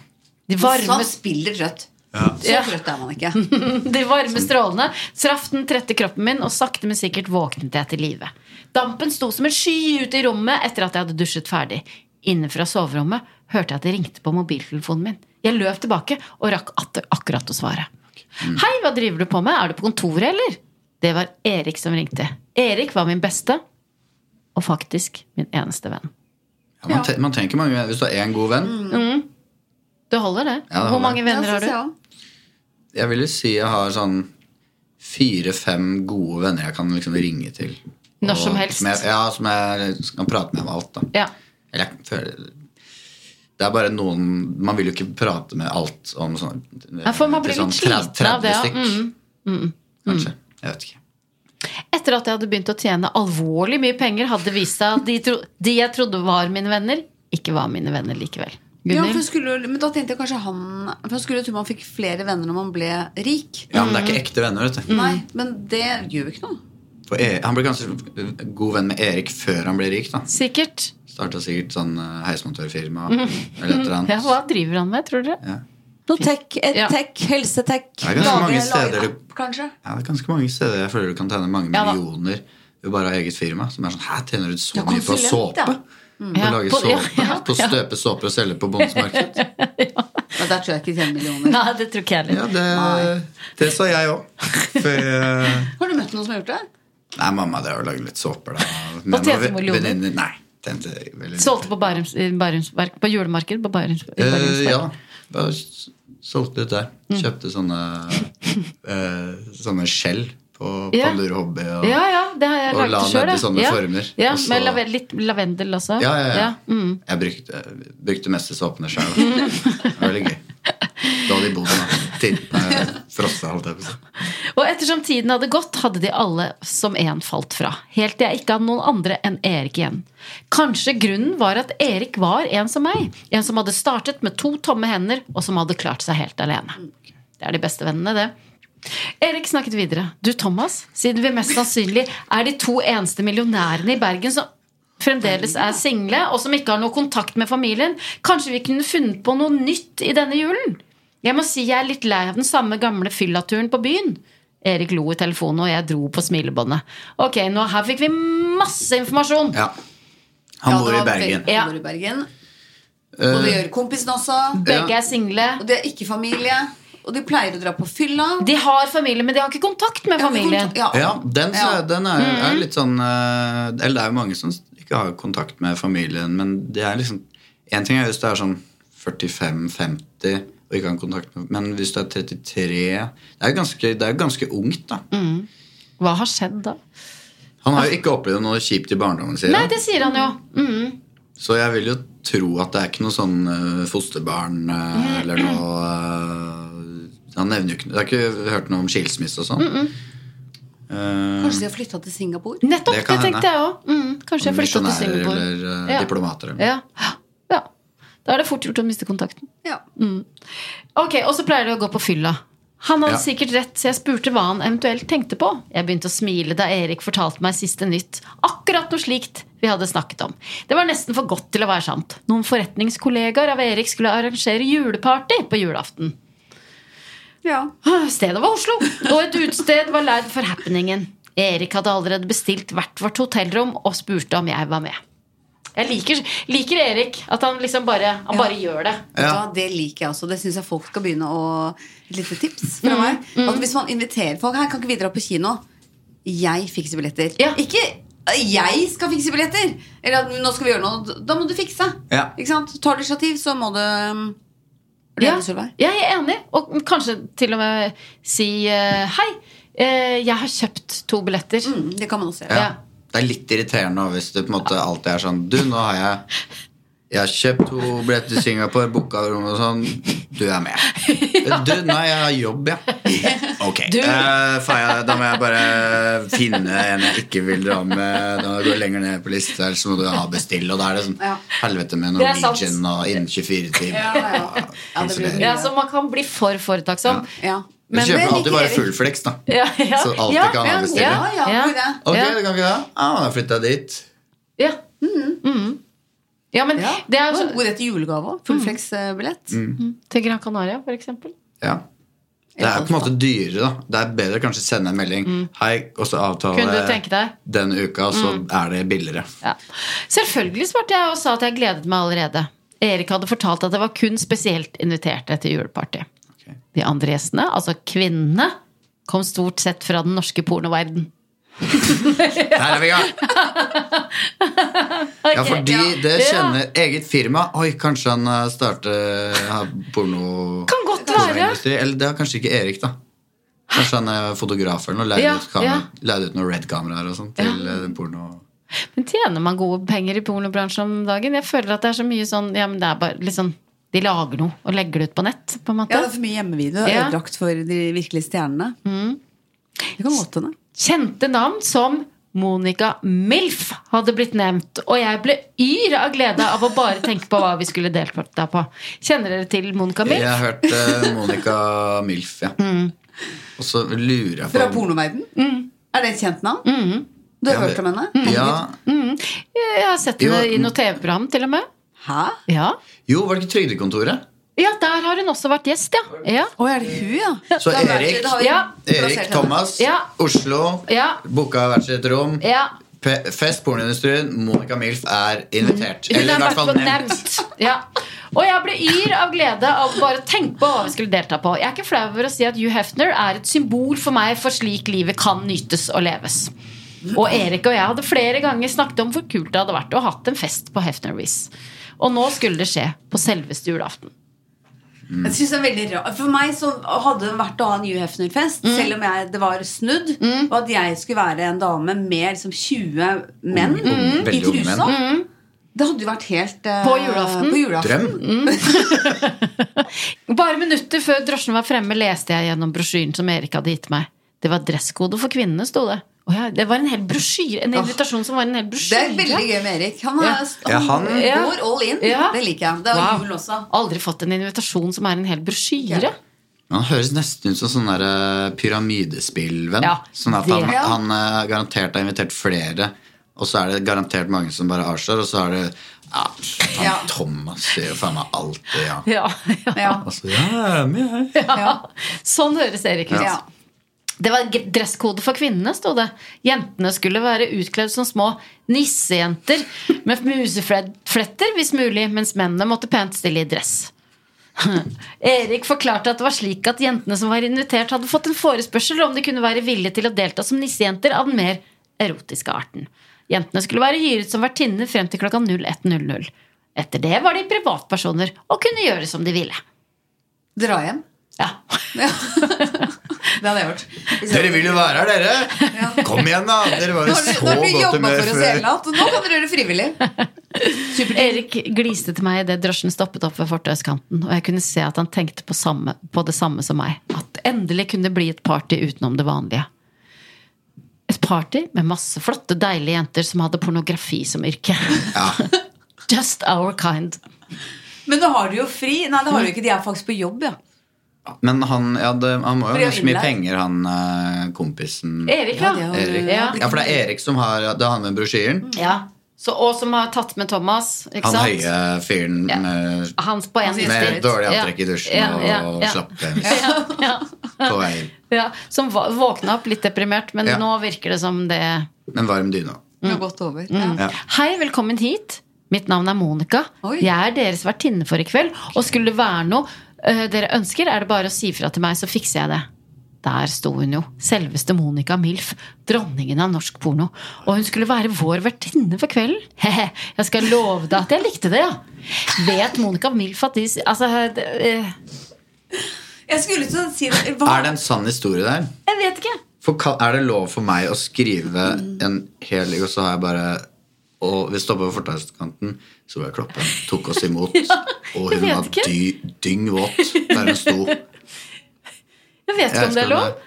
Speaker 2: De varme,
Speaker 3: Sånn spiller trøtt. Så
Speaker 2: Ja.
Speaker 3: trøtt er man ikke.
Speaker 2: de varme strålene traff den trette kroppen min, og sakte, men sikkert våknet jeg til live. Dampen sto som en sky ute i rommet etter at jeg hadde dusjet ferdig. Inne fra soverommet hørte jeg at det ringte på mobiltelefonen min. Jeg løp tilbake og rakk atter akkurat å svare. Hei, hva driver du på med? Er du på kontoret, eller? Det var Erik som ringte. Erik var min beste, og faktisk min eneste venn.
Speaker 5: Ja, man, te, man tenker mange venner. Hvis du har én god venn
Speaker 2: Det holder, det.
Speaker 5: Ja, det
Speaker 2: Hvor
Speaker 5: holder.
Speaker 2: mange venner har du?
Speaker 5: Jeg vil jo si jeg har sånn fire-fem gode venner jeg kan liksom ringe til.
Speaker 2: Når som helst.
Speaker 5: Som jeg, ja, som jeg kan prate med om alt, da.
Speaker 2: Ja.
Speaker 5: Eller jeg føler Det er bare noen Man vil jo ikke prate med alt om sånn
Speaker 2: Ja, for man blir
Speaker 5: til
Speaker 2: litt
Speaker 5: sånn
Speaker 2: sliten av det, ja. Mm,
Speaker 5: 30 stykk, Kanskje. Jeg vet ikke.
Speaker 2: Etter at jeg hadde begynt å tjene alvorlig mye penger, hadde det vist seg at de, tro de jeg trodde var mine venner, ikke var mine venner likevel.
Speaker 3: Ja, for
Speaker 2: Gunhild?
Speaker 3: skulle, men da tenkte jeg kanskje han For jeg skulle tro man fikk flere venner når man ble rik.
Speaker 5: Ja, men det er ikke ekte venner, vet du.
Speaker 2: Mm.
Speaker 3: Nei, men det gjør jo ikke noe.
Speaker 5: For E- han ble kanskje god venn med Erik før han ble rik, da.
Speaker 2: Sikkert.
Speaker 5: Starta sikkert sånn eh, heismontørfirma eller et eller annet.
Speaker 2: Mm. Ja, hva driver han med, tror dere?
Speaker 3: Noe tech,
Speaker 2: Ja.
Speaker 3: edtech, helsetech.
Speaker 5: Det er ganske
Speaker 3: lage-
Speaker 5: mange
Speaker 3: lage
Speaker 5: steder
Speaker 3: app, Kanskje.
Speaker 5: Ja, det er ganske mange steder jeg føler du kan tjene mange
Speaker 2: Ja da.
Speaker 5: millioner ved bare å ha eget firma. Som er sånn, Hæ, tjener du så
Speaker 3: Ja,
Speaker 5: mye på
Speaker 3: konsulent,
Speaker 5: såpe?
Speaker 3: ja.
Speaker 5: På
Speaker 2: Ja,
Speaker 5: å lage
Speaker 2: på-
Speaker 5: såpe?
Speaker 2: ja, ja,
Speaker 5: På å støpe såper og selge på bondemarked?
Speaker 3: Men der tror jeg ikke tjener millioner.
Speaker 2: Nei, det tror ikke jeg heller.
Speaker 5: Ja, det, det sa jeg òg.
Speaker 3: Har du møtt noen som har gjort det?
Speaker 5: Nei, mamma drev og lagde litt såper, da.
Speaker 2: Og tjente millioner.
Speaker 5: venninner- Nei. Tjente veldig
Speaker 2: Solgte på Bærums, i Bærumsverk, på julemarked på Mm. Bærums, i
Speaker 5: Eh,
Speaker 2: Bærumsverk.
Speaker 5: ja. Bare s- solgte litt der. Kjøpte sånne eh, Sånne skjell på
Speaker 2: Ja.
Speaker 5: Pandur Hobby. Og,
Speaker 2: ja, ja, det har jeg
Speaker 5: Og la
Speaker 2: laget sjøl.
Speaker 5: ned i sånne
Speaker 2: ja.
Speaker 5: former,
Speaker 2: ja,
Speaker 5: og så-
Speaker 2: med lave- litt lavendel også.
Speaker 5: Ja, ja, ja.
Speaker 2: mm.
Speaker 5: Jeg brukte, brukte mest såpene sjøl. Det var veldig gøy. Da hadde de bodd med frossa, eh, holdt jeg på å si.
Speaker 2: Og ettersom tiden hadde gått, hadde de alle som én falt fra. Helt til jeg ikke hadde noen andre enn Erik igjen. Kanskje grunnen var at Erik var en som meg. En som hadde startet med to tomme hender, og som hadde klart seg helt alene. Det er de beste vennene, det. Erik snakket videre. Du, Thomas, siden vi mest sannsynlig er de to eneste millionærene i Bergen som fremdeles er single, og som ikke har noe kontakt med familien, kanskje vi kunne funnet på noe nytt i denne julen? Jeg må si jeg er litt lei av den samme gamle fyllaturen på byen. Erik lo i telefonen, og jeg dro på smilebåndet. Ok, nå her fikk vi masse informasjon!
Speaker 5: Ja. Han
Speaker 3: Ja,
Speaker 5: bor
Speaker 3: det
Speaker 5: i
Speaker 3: var
Speaker 5: Bergen. Eh,
Speaker 3: veldig-
Speaker 2: Ja.
Speaker 3: Han bor i Bergen. Og det gjør kompisen også.
Speaker 2: Begge er single.
Speaker 3: Og de er ikke familie. Og de pleier å dra på fylla.
Speaker 2: De har familie, men de har ikke kontakt med familien.
Speaker 3: Ja.
Speaker 5: Ja, den, så,
Speaker 3: Ja. Mm-hmm.
Speaker 5: den er, er litt sånn eh, Eller det er jo mange som ikke har kontakt med familien, men det er liksom En ting er hvis det er sånn 45-50 og ikke har kontakt med Men hvis det er 33 Det er jo ganske, det er jo ganske ungt, da.
Speaker 3: Mm.
Speaker 2: Hva har skjedd da?
Speaker 5: Han har jo ikke opplevd noe kjipt i barndommen sin.
Speaker 2: Nei, det sier han jo. Mm.
Speaker 5: Så jeg vil jo tro at det er ikke noe sånn eh, fosterbarn eh, eller noe eh, Han nevner jo ikke noe Jeg har ikke hørt noe om skilsmisse og sånn. Eh,
Speaker 3: Kanskje de har flytta til Singapore?
Speaker 2: Nettopp, det,
Speaker 5: Det kan hende.
Speaker 2: tenkte jeg òg. Mm. Kanskje jeg flytta til
Speaker 5: misjonærer
Speaker 2: Singapore.
Speaker 5: eller eh,
Speaker 2: Ja.
Speaker 5: diplomater. eller-
Speaker 2: Ja. ja. Da er det fort gjort å miste kontakten.
Speaker 3: Ja.
Speaker 2: Ok, Og så pleier de å gå på fylla. Han hadde
Speaker 5: Ja.
Speaker 2: sikkert rett, så jeg spurte hva han eventuelt tenkte på. Jeg begynte å smile da Erik fortalte meg siste nytt. Akkurat noe slikt vi hadde snakket om. Det var nesten for godt til å være sant. Noen forretningskollegaer av Erik skulle arrangere juleparty på julaften.
Speaker 3: ja.
Speaker 2: Stedet var Oslo, og et utested var leid for happeningen. Erik hadde allerede bestilt hvert vårt hotellrom og spurte om jeg var med. Jeg liker, liker Erik. At han liksom bare, han bare gjør det.
Speaker 3: Ja. det liker jeg også. Det syns jeg folk skal begynne å Et lite tips
Speaker 2: Mm-hmm.
Speaker 3: fra meg. At hvis man inviterer folk her, kan ikke vi dra på kino? Jeg fikser billetter.
Speaker 2: Ja.
Speaker 3: Ikke «Ø, jeg skal fikse billetter! Eller at nå skal vi gjøre noe. Da må du fikse.
Speaker 5: Ja.
Speaker 3: Ikke sant? Tar du initiativ, så må du um, Er du
Speaker 2: Ja,
Speaker 3: enig, Solveig?
Speaker 2: jeg er enig. Og kanskje til og med si eh, hei. eh, jeg har kjøpt to billetter.
Speaker 3: Mm, det kan man også gjøre.
Speaker 5: Ja.
Speaker 2: Ja.
Speaker 5: Det er litt irriterende også, hvis det på en måte alltid er sånn Du, nå har jeg Jeg har kjøpt to billetter til Singapore, booka rom og sånn. Du er med. Du, nei, jeg har jobb, ja. Ok. Eh, faen, jeg, da må jeg bare finne en jeg ikke vil dra med. Da må jeg gå lenger ned på lista, ellers må du ha bestill. Og da er det sånn
Speaker 3: Ja.
Speaker 5: helvete med
Speaker 2: Det er sant.
Speaker 5: Norwegian og innen 24 timer.
Speaker 3: Ja, ja. Ja, det blir-
Speaker 2: Ja, så man kan bli for foretaktsom.
Speaker 3: Ja.
Speaker 5: Men
Speaker 3: det
Speaker 5: kjøper
Speaker 3: liker
Speaker 5: alltid bare
Speaker 3: Erik.
Speaker 5: full flex, da.
Speaker 2: Ja, ja.
Speaker 5: Så alltid
Speaker 2: Ja,
Speaker 5: kan ha
Speaker 3: ja,
Speaker 5: bestilling.
Speaker 3: ja, ja,
Speaker 2: Ja.
Speaker 3: god idé.
Speaker 5: Ok,
Speaker 2: Ja.
Speaker 5: det kan vi da. Ah, da flytta jeg dit.
Speaker 2: Ja. Mhm. ja, men
Speaker 3: Mm. Ja.
Speaker 2: det er jo sånn-
Speaker 3: Og
Speaker 2: så Mm.
Speaker 3: god idé til julegave òg. Fullflex-billett.
Speaker 2: Til Gran Canaria, for eksempel.
Speaker 5: Ja. Det er på en måte dyrere, da. Det er bedre å kanskje sende en melding. Hei, og så
Speaker 2: Mm. Kunne du
Speaker 5: avtale
Speaker 2: tenke deg? Mm.
Speaker 5: den uka, så er det billigere.
Speaker 2: Ja. Selvfølgelig svarte jeg og sa at jeg gledet meg allerede. Erik hadde fortalt at det var kun spesielt inviterte til juleparty.
Speaker 5: Ok.
Speaker 2: De andre gjestene, altså kvinnene, kom stort sett fra den norske pornoverden.
Speaker 5: Der er vi i gang! Ja, for de, det kjenner eget firma. Oi, kanskje han eh, starter har porno...
Speaker 2: Kan godt
Speaker 5: pornoindustri. Eller det er kanskje ikke Erik, da. Kanskje han er fotograf eller noe. Leid,
Speaker 2: Ja,
Speaker 5: ut, kamera,
Speaker 2: ja.
Speaker 5: leid ut noen Red-kameraer og sånn til eh, porno.
Speaker 2: Men tjener man gode penger i pornobransjen om dagen? Jeg føler at det er så mye sånn Ja, men det er bare litt sånn De lager noe og legger det ut på nett, på en måte.
Speaker 3: Ja, det er for mye hjemmevideo.
Speaker 2: Ja. Mm.
Speaker 3: Ødelagt for de virkelige stjernene. Det kan godt hende.
Speaker 2: Kjente navn som Monica Milf hadde blitt nevnt, og jeg ble yr av glede av å bare tenke på hva vi skulle delta på. Kjenner dere til Monica
Speaker 5: Jeg
Speaker 2: Milf? Mm.
Speaker 5: har hørt eh, Monica Milf, ja. Og så lurer jeg på
Speaker 3: Fra pornoverden? Er det et kjent navn?
Speaker 2: Mm.
Speaker 3: Du har
Speaker 5: Ja, det-
Speaker 3: hørt om henne?
Speaker 5: Ja,
Speaker 2: Jeg har sett
Speaker 5: Jo,
Speaker 2: henne i
Speaker 5: mm.
Speaker 2: noe TV-program, til og med.
Speaker 3: Hæ?
Speaker 2: Ja.
Speaker 5: Jo, var det ikke Trygdekontoret?
Speaker 2: ja, der har hun også vært gjest, ja. Ja.
Speaker 3: Å, er det hun, ja?
Speaker 5: Så
Speaker 3: Da vet vi,
Speaker 5: Erik,
Speaker 3: da har vi
Speaker 2: Ja.
Speaker 3: plassert
Speaker 5: Erik
Speaker 3: henne.
Speaker 5: Thomas,
Speaker 2: Ja.
Speaker 5: Oslo,
Speaker 2: Ja.
Speaker 5: booka hvert sitt rom.
Speaker 2: ja.
Speaker 5: Pe- Fest, pornoindustrien, Monica Milf er invitert.
Speaker 2: Mm. Hun
Speaker 5: Eller i
Speaker 2: har
Speaker 5: hvert fall
Speaker 2: vært
Speaker 5: nevnt.
Speaker 2: nevnt. Ja. Og jeg ble yr av glede av å bare tenke på hva vi skulle delta på. Jeg er ikke flau over å si at Hugh Hefner er et symbol for meg for slik livet kan nytes og leves. Og Erik og jeg hadde flere ganger snakket om hvor kult det hadde vært å ha hatt en fest på Hefner-vis. Og nå skulle det skje på selveste julaften.
Speaker 3: Jeg synes det er veldig rar. For meg så hadde det vært å ha en Hugh Hefner-fest,
Speaker 2: Mm.
Speaker 3: selv om jeg, det var snudd. Og at jeg skulle være en dame med liksom 20 menn
Speaker 5: Mm.
Speaker 3: i
Speaker 5: Veldig unge
Speaker 3: trusa. Det hadde jo vært helt eh,
Speaker 2: På julaften.
Speaker 3: På julaften.
Speaker 5: Drøm?
Speaker 2: Bare minutter før drosjen var fremme, leste jeg gjennom brosjyren som Erik hadde gitt meg. Det var dresskode for kvinnene, sto det. Å ja, det var en hel brosjyre. En invitasjon som var en hel
Speaker 3: Det
Speaker 2: brosjyre.
Speaker 3: er veldig gøy med Erik. Han,
Speaker 2: Ja.
Speaker 3: er,
Speaker 5: Ja,
Speaker 3: han,
Speaker 5: han-
Speaker 3: går all in.
Speaker 2: Ja.
Speaker 3: Det liker jeg. Det er
Speaker 2: Wow.
Speaker 3: jul også.
Speaker 2: Aldri fått en invitasjon som er en hel brosjyre.
Speaker 3: Ja.
Speaker 5: Han høres nesten ut som sånn der eh, pyramidespillvenn.
Speaker 2: Ja,
Speaker 5: sånn at
Speaker 2: det-
Speaker 5: han, han eh, garantert har invitert flere. Og så er det garantert mange som bare avslår, og så er det ja, han
Speaker 3: Ja.
Speaker 5: Thomas sier jo faen meg alltid ja.
Speaker 2: Ja, ja.
Speaker 3: Ja.
Speaker 5: Altså, ja, jeg er med, jeg.
Speaker 3: Ja.
Speaker 2: Sånn høres Erik ut.
Speaker 3: Ja.
Speaker 2: Det var g- dresskode for kvinnene, sto det. Jentene skulle være utkledd som små nissejenter med musefletter hvis mulig, mens mennene måtte pent stille i dress. Erik forklarte at det var slik at jentene som var invitert, hadde fått en forespørsel om de kunne være villige til å delta som nissejenter av den mer erotiske arten. Jentene skulle være hyret som vertinner frem til klokka 01.00. Etter det var de privatpersoner og kunne gjøre som de ville.
Speaker 3: Dra hjem.
Speaker 2: Ja.
Speaker 3: Ja. det hadde jeg gjort. Hvis jeg-
Speaker 5: Dere vil jo være her, dere! Kom igjen, da! Dere var
Speaker 3: Nå
Speaker 5: jo
Speaker 3: har
Speaker 5: så
Speaker 3: du- nå har du
Speaker 5: godt
Speaker 3: jobba
Speaker 5: humør
Speaker 3: for oss hele
Speaker 5: før.
Speaker 3: natt, og nå kan dere gjøre det frivillig.
Speaker 2: Erik gliste til meg idet drosjen stoppet opp ved fortauskanten, og jeg kunne se at han tenkte på, samme, på det samme som meg. At endelig kunne det bli et party utenom det vanlige. Et party med masse flotte, deilige jenter som hadde pornografi som yrke. Just our kind.
Speaker 3: Men nå har du jo fri. Nei, det har du ikke. De er faktisk på jobb, ja.
Speaker 5: Men han, ja, det, han må
Speaker 3: Fordi
Speaker 5: jo ha
Speaker 3: han
Speaker 5: ganske mye
Speaker 3: innleid.
Speaker 5: penger, han eh, kompisen
Speaker 2: Erik, ja.
Speaker 3: det er jo-
Speaker 5: Erik.
Speaker 2: Ja.
Speaker 5: Ja, for det er Erik som har Det er han med brosjyren.
Speaker 2: ja. Så, og som har tatt med Thomas. Ikke
Speaker 5: Han
Speaker 2: sant? Ah,
Speaker 5: høye fyren med,
Speaker 2: Han på en
Speaker 5: med
Speaker 2: instinkt.
Speaker 5: dårlig antrekk i dusjen
Speaker 2: ja, ja,
Speaker 5: og
Speaker 2: ja.
Speaker 5: slapp penis
Speaker 2: Ja, ja.
Speaker 5: på veien.
Speaker 2: Ja, som va- våkna opp litt deprimert, men
Speaker 5: Ja.
Speaker 2: nå virker det som det
Speaker 5: Med en varm dyne.
Speaker 3: Nå gått over. Mm. Ja.
Speaker 5: Ja.
Speaker 2: Hei, velkommen hit. Mitt navn er Monica.
Speaker 3: Oi.
Speaker 2: Jeg er deres vertinne for i kveld. Og skulle det være noe eh, dere ønsker, er det bare å si fra til meg, så fikser jeg det. Der sto hun jo. Selveste Monica Milf. Dronningen av norsk porno. Og hun skulle være vår vertinne for kvelden. Hehe, jeg skal love deg at jeg likte det, ja. Vet Monica Milf at de s- Altså det, eh,
Speaker 3: Jeg skulle til å si det. Hva?
Speaker 5: Er det en sann historie der?
Speaker 2: Jeg vet ikke.
Speaker 5: For kan, er det lov for meg å skrive
Speaker 2: Mm.
Speaker 5: en hel Og så har jeg bare Og vi stoppa ved fortauskanten, så var jeg kloppen. Tok oss imot. og
Speaker 2: jeg
Speaker 5: hun
Speaker 2: vet
Speaker 5: var
Speaker 2: ikke.
Speaker 5: dy, dyng våt der hun sto.
Speaker 2: Jeg vet ikke
Speaker 5: Jeg
Speaker 2: om det
Speaker 5: skal
Speaker 2: er lov.
Speaker 5: med.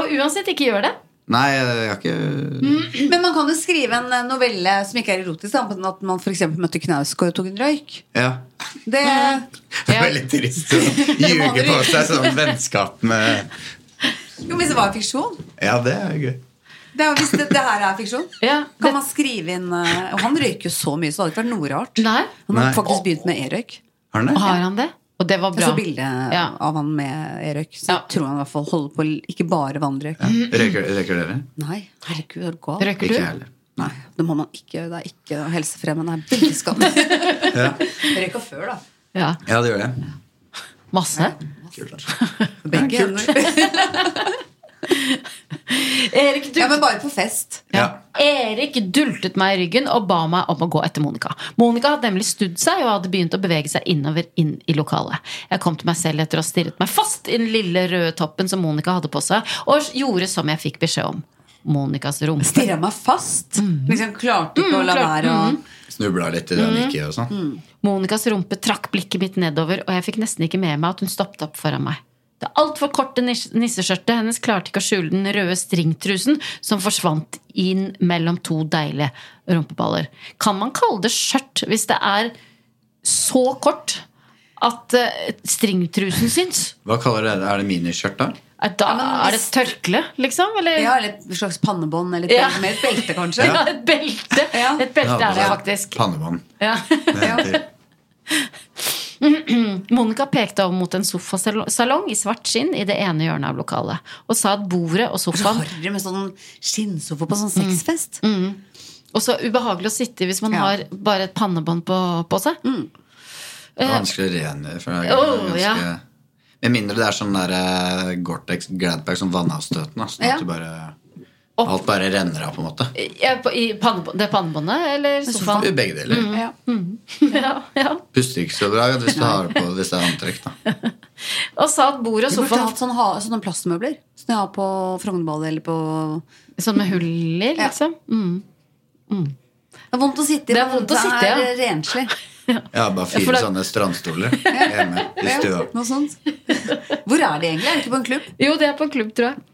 Speaker 2: Og uansett, ikke gjør det.
Speaker 5: Nei, jeg har
Speaker 2: Mm.
Speaker 5: ikke
Speaker 3: Men man kan jo skrive en eh, novelle som ikke er erotisk, da, men at man f.eks. møtte Knausgård og tok en røyk.
Speaker 5: Ja.
Speaker 3: Det Mm.
Speaker 5: Det er veldig trist å ljuge på seg sånn vennskap med
Speaker 3: Jo, men det var fiksjon.
Speaker 5: Ja, det er jo gøy.
Speaker 3: Det er, jo- hvis det, det her er fiksjon.
Speaker 2: Ja,
Speaker 3: Kan
Speaker 2: det-
Speaker 3: man skrive inn eh, Og han røyker jo så mye, så det hadde ikke vært noe rart.
Speaker 2: Nei.
Speaker 3: Han har
Speaker 5: Nei.
Speaker 3: faktisk begynt med e-røyk.
Speaker 5: Har den det?
Speaker 2: Har han det? Og det var
Speaker 3: Jeg
Speaker 2: bra.
Speaker 3: så bilde
Speaker 2: Ja.
Speaker 3: Altså, av han med e-røyk. Så
Speaker 2: Ja. Mm.
Speaker 3: jeg tror han i hvert fall holder på ikke bare vannrøyk.
Speaker 5: Røyker, røyker dere?
Speaker 3: Nei, herregud, er du gal?
Speaker 2: Røyker
Speaker 5: Ikke
Speaker 2: du?
Speaker 5: jeg heller. Nei.
Speaker 3: Det må man ikke gjøre. Det er ikke helsefremmende. Det er veldig skadelig. Røyka før, da.
Speaker 2: Ja.
Speaker 5: Ja, det gjør det.
Speaker 2: Masse.
Speaker 3: Begge hender.
Speaker 2: Erik, du
Speaker 3: Ja, men bare på fest.
Speaker 5: Ja.
Speaker 2: Erik dultet meg i ryggen og ba meg om å gå etter Monica. Monica hadde nemlig snudd seg og hadde begynt å bevege seg innover inn i lokalet. Jeg kom til meg selv etter å ha stirret meg fast i den lille røde toppen som Monica hadde på seg, og gjorde som jeg fikk beskjed om. Monicas rumpe.
Speaker 3: Stirra meg fast.
Speaker 2: Mm.
Speaker 3: Liksom Klarte ikke å la
Speaker 2: klart-
Speaker 3: være å
Speaker 5: Snubla litt
Speaker 2: Mm.
Speaker 5: i det han gikk i og sånn.
Speaker 2: Monicas rumpe trakk blikket mitt nedover, og jeg fikk nesten ikke med meg at hun stoppet opp foran meg. Det altfor korte nis- nisseskjørtet hennes klarte ikke å skjule den røde stringtrusen som forsvant inn mellom to deilige rumpeballer. Kan man kalle det skjørt hvis det er så kort at eh, stringtrusen syns?
Speaker 5: Hva kaller dere det? Er det miniskjørt, da?
Speaker 2: Er, da,
Speaker 3: men
Speaker 2: er det et tørkle, liksom? Eller?
Speaker 3: Ja, eller et slags pannebånd, eller et
Speaker 2: Ja.
Speaker 3: belte, med et belte, kanskje.
Speaker 2: Ja, et belte!
Speaker 3: Ja.
Speaker 2: Et belte
Speaker 5: Ja,
Speaker 2: er det
Speaker 5: på seg.
Speaker 2: faktisk.
Speaker 5: Pannebånd.
Speaker 2: Ja.
Speaker 5: Det heter-
Speaker 2: Monica pekte over mot en sofasalong i svart skinn i det ene hjørnet av lokalet, og sa at bordet og sofaen
Speaker 3: Harry med sånn skinnsofa på
Speaker 2: Mm.
Speaker 3: sånn sexfest.
Speaker 2: Og så ubehagelig å sitte i hvis man
Speaker 3: Ja. Mm.
Speaker 2: har bare et pannebånd på, på seg.
Speaker 5: Det er vanskelig å rengjøre. For det er
Speaker 2: Åh,
Speaker 5: ganske,
Speaker 2: ja.
Speaker 5: Med mindre det er sånn der eh, Gore-Tex Gladpack, sånn vannavstøtende. Sånn
Speaker 3: Ja.
Speaker 5: at du bare,
Speaker 2: Opp.
Speaker 5: alt bare renner av, på en måte. Sånn
Speaker 2: Ja, på, I pannebå- det pannebåndet eller sofaen?
Speaker 5: I begge deler.
Speaker 2: Mm.
Speaker 3: Ja.
Speaker 2: Ja, ja.
Speaker 5: Puster ikke så bra hvis du har på hvis det er antrekk. da
Speaker 2: Og sa at bordet og
Speaker 3: Vi burde
Speaker 2: sofaen
Speaker 3: hatt sånne, ha- sånne plastmøbler som de har på Frognerballet eller på
Speaker 2: Sånn med hull i, liksom. Mm.
Speaker 3: Det er vondt å sitte i,
Speaker 2: Det er
Speaker 3: men
Speaker 2: vondt å sitte,
Speaker 3: er
Speaker 2: ja.
Speaker 3: eh, renslig.
Speaker 5: Jeg har bare
Speaker 2: for
Speaker 5: fire
Speaker 2: det-
Speaker 5: sånne strandstoler hjemme i stua.
Speaker 3: Noe sånt. Hvor er de egentlig? Er de ikke på en klubb?
Speaker 2: Jo, det er på en klubb, tror jeg.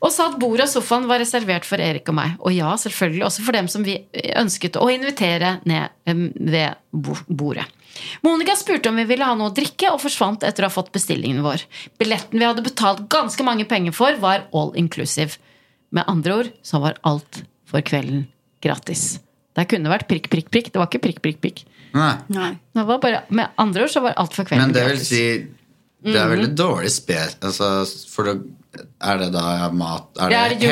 Speaker 2: Og sa at bordet og sofaen var reservert for Erik og meg. Og ja, selvfølgelig også for dem som vi ønsket å invitere ned em, ved bo- bordet. Monica spurte om vi ville ha noe å drikke, og forsvant etter å ha fått bestillingen vår. Billetten vi hadde betalt ganske mange penger for, var all inclusive. Med andre ord så var alt for kvelden gratis. Det kunne vært prikk, prikk, prikk. Det var ikke prikk, prikk, prikk.
Speaker 5: Nei.
Speaker 3: Nei.
Speaker 2: Det var bare, med andre ord så var alt for kvelden
Speaker 5: Men det vil
Speaker 2: gratis.
Speaker 5: si Det er veldig dårlig spe... Altså, for det, er det da mat Er det,
Speaker 2: Er det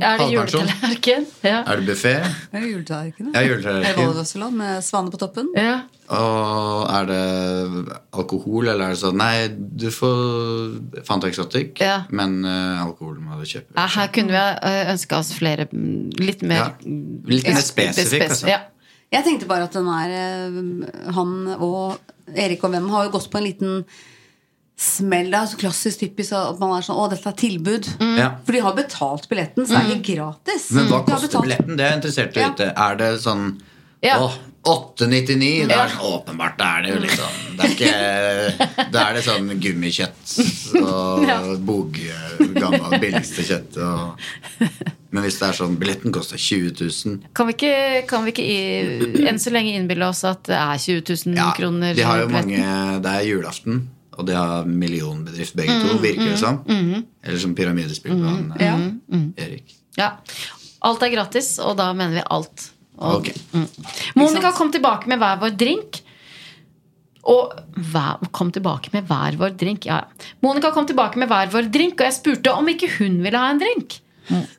Speaker 2: juletallerken? Er det
Speaker 5: Halvpensjon?
Speaker 2: juletallerken? Ja.
Speaker 5: Er det buffé?
Speaker 3: Det er jo juletallerken.
Speaker 5: Ja,
Speaker 3: da. Er det
Speaker 5: juletallerken.
Speaker 3: Vålervasseland med svane på toppen.
Speaker 2: ja.
Speaker 5: Og er det alkohol, eller er det sånn Nei, du får Fanta Exotic,
Speaker 2: Ja.
Speaker 5: men eh, alkohol må du kjøpe.
Speaker 2: Ja, Eh, Her kunne vi ønska oss flere mm, litt
Speaker 5: Ja.
Speaker 2: mer
Speaker 5: Litt mer spesifikk, altså.
Speaker 2: Ja.
Speaker 3: Jeg tenkte bare at den er eh, Han og Erik og hvem har jo gått på en liten smell. Det er så klassisk typisk at man er sånn Å, dette er tilbud.
Speaker 5: Ja.
Speaker 3: For de har betalt billetten, så det er ikke gratis.
Speaker 2: Mm.
Speaker 5: Men
Speaker 3: De
Speaker 5: hva
Speaker 3: har
Speaker 5: koster
Speaker 3: betalt-
Speaker 5: billetten? Det er jeg interessert i å
Speaker 3: Ja.
Speaker 5: vite. Er det sånn
Speaker 2: Ja.
Speaker 5: åh, 8,99? Det
Speaker 2: Ja. Mm.
Speaker 5: er sånn, åpenbart, da er det jo litt sånn Det er, ikke, da er det sånn gummikjøtt og
Speaker 2: Ja.
Speaker 5: boge, gammel, billigste kjøtt. Og, men hvis det er sånn billetten koster 20 000
Speaker 2: Kan vi ikke, kan vi ikke i, enn så lenge innbille oss at det er 20 000
Speaker 5: ja,
Speaker 2: kroner?
Speaker 5: de har jo
Speaker 2: billetten?
Speaker 5: mange, Det er julaften, og de har millionbedrift begge
Speaker 2: Mm,
Speaker 5: to, virker det som. Eller som pyramidespill på han eh,
Speaker 3: Mm.
Speaker 5: Erik.
Speaker 2: Ja. Alt er gratis, og da mener vi alt. Og,
Speaker 5: Ok.
Speaker 2: mm. Monica kom tilbake med hver vår drink. Og hver, kom tilbake med hver vår drink. Ja, ja. Monica kom tilbake med hver vår drink, og jeg spurte om ikke hun ville ha en drink.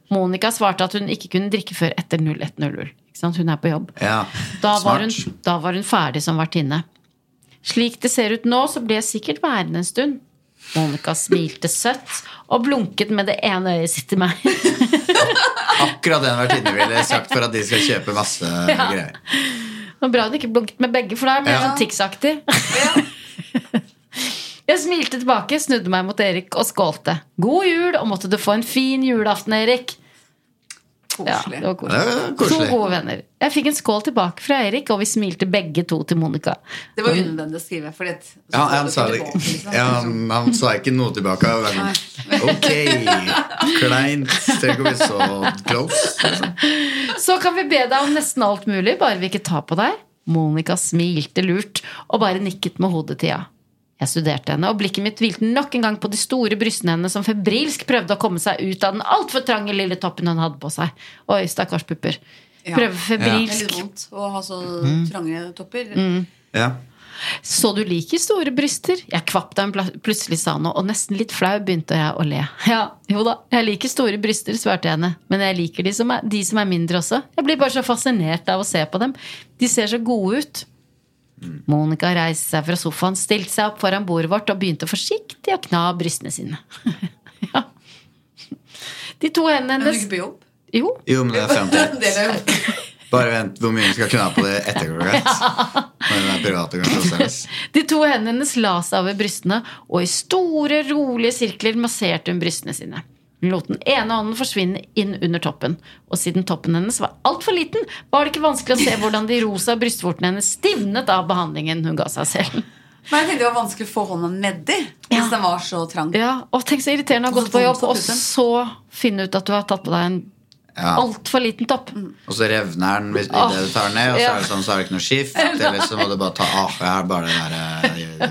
Speaker 2: Monica svarte at hun ikke kunne drikke før etter 01.00. Ikke sant? Hun er på jobb.
Speaker 5: Ja,
Speaker 2: Da var,
Speaker 5: smart.
Speaker 2: hun, da var hun ferdig som vertinne. Slik det ser ut nå, så blir jeg sikkert værende en stund. Monica smilte søtt og blunket med det ene øyet sitt til meg.
Speaker 5: Akkurat den vertinne ville sagt for at de skal kjøpe masse greier.
Speaker 2: Det var bra hun ikke blunket med begge, for da ble jeg
Speaker 5: Ja.
Speaker 2: sånn tics-aktig. jeg smilte tilbake, snudde meg mot Erik og skålte. God jul, og måtte du få en fin julaften, Erik. Ja, det var
Speaker 5: Ja,
Speaker 2: koselig.
Speaker 5: det var
Speaker 2: To
Speaker 5: koselig.
Speaker 2: gode venner. Jeg fikk en skål tilbake fra Erik, og vi smilte begge to til Monica.
Speaker 3: Det var unødvendig å skrive. Fordi at, så
Speaker 5: Ja,
Speaker 3: står
Speaker 5: han
Speaker 3: det
Speaker 5: sa,
Speaker 3: tilbake, liksom.
Speaker 5: ja, han, han sa ikke noe tilbake. Han var sånn, Ok, kleint. Tenk om vi så close. Liksom.
Speaker 2: Så kan vi be deg om nesten alt mulig, bare vi ikke tar på deg. Monica smilte lurt og bare nikket med hodet til ja. Jeg studerte henne, og blikket mitt hvilte nok en gang på de store brystene hennes som febrilsk prøvde å komme seg ut av den altfor trange lille toppen hun hadde på seg. Oi, stakkars pupper.
Speaker 3: Ja.
Speaker 2: Prøve
Speaker 3: Det er litt
Speaker 2: febrilsk.
Speaker 3: vondt å ha så
Speaker 5: Mm.
Speaker 3: trange topper.
Speaker 5: Ja.
Speaker 2: Så du liker store bryster? Jeg kvapp da hun pla- plutselig sa noe, og nesten litt flau begynte jeg å le. Ja, jo da, jeg liker store bryster, svarte jeg henne. Men jeg liker de som, er, de som er mindre også. Jeg blir bare så fascinert av å se på dem. De ser så gode ut. Monica reiste seg fra sofaen, stilte seg opp foran bordet vårt og begynte forsiktig å kna brystene sine. ja. De to hendene
Speaker 3: Er du
Speaker 2: hennes
Speaker 3: ikke på jobb?
Speaker 2: Jo,
Speaker 5: Jo, men det er
Speaker 3: Det er
Speaker 5: fremtid.
Speaker 3: en del av jobb.
Speaker 5: Bare vent hvor mye vi skal kunne ha på det etter klokka ett. Når den er private kan slå seg løs.
Speaker 2: De to hendene hennes la seg over brystene, og i store, rolige sirkler masserte hun brystene sine. Hun lot den ene hånden forsvinne inn under toppen, og siden toppen hennes var altfor liten, var det ikke vanskelig å se hvordan de rosa brystvortene hennes stivnet av behandlingen hun ga seg selv.
Speaker 3: Men jeg tenkte det var vanskelig å få hånda nedi
Speaker 2: Ja.
Speaker 3: hvis den var så trang.
Speaker 2: Ja, og Tenk så irriterende å ha gått på jobb, og så finne ut at du har tatt på deg en
Speaker 5: Ja.
Speaker 2: altfor liten topp.
Speaker 5: Og så revner den hvis idet du tar den ned, og så er det sånn, så er det ikke noe skift. Eller så må du bare ta av. Jeg har bare den der eh,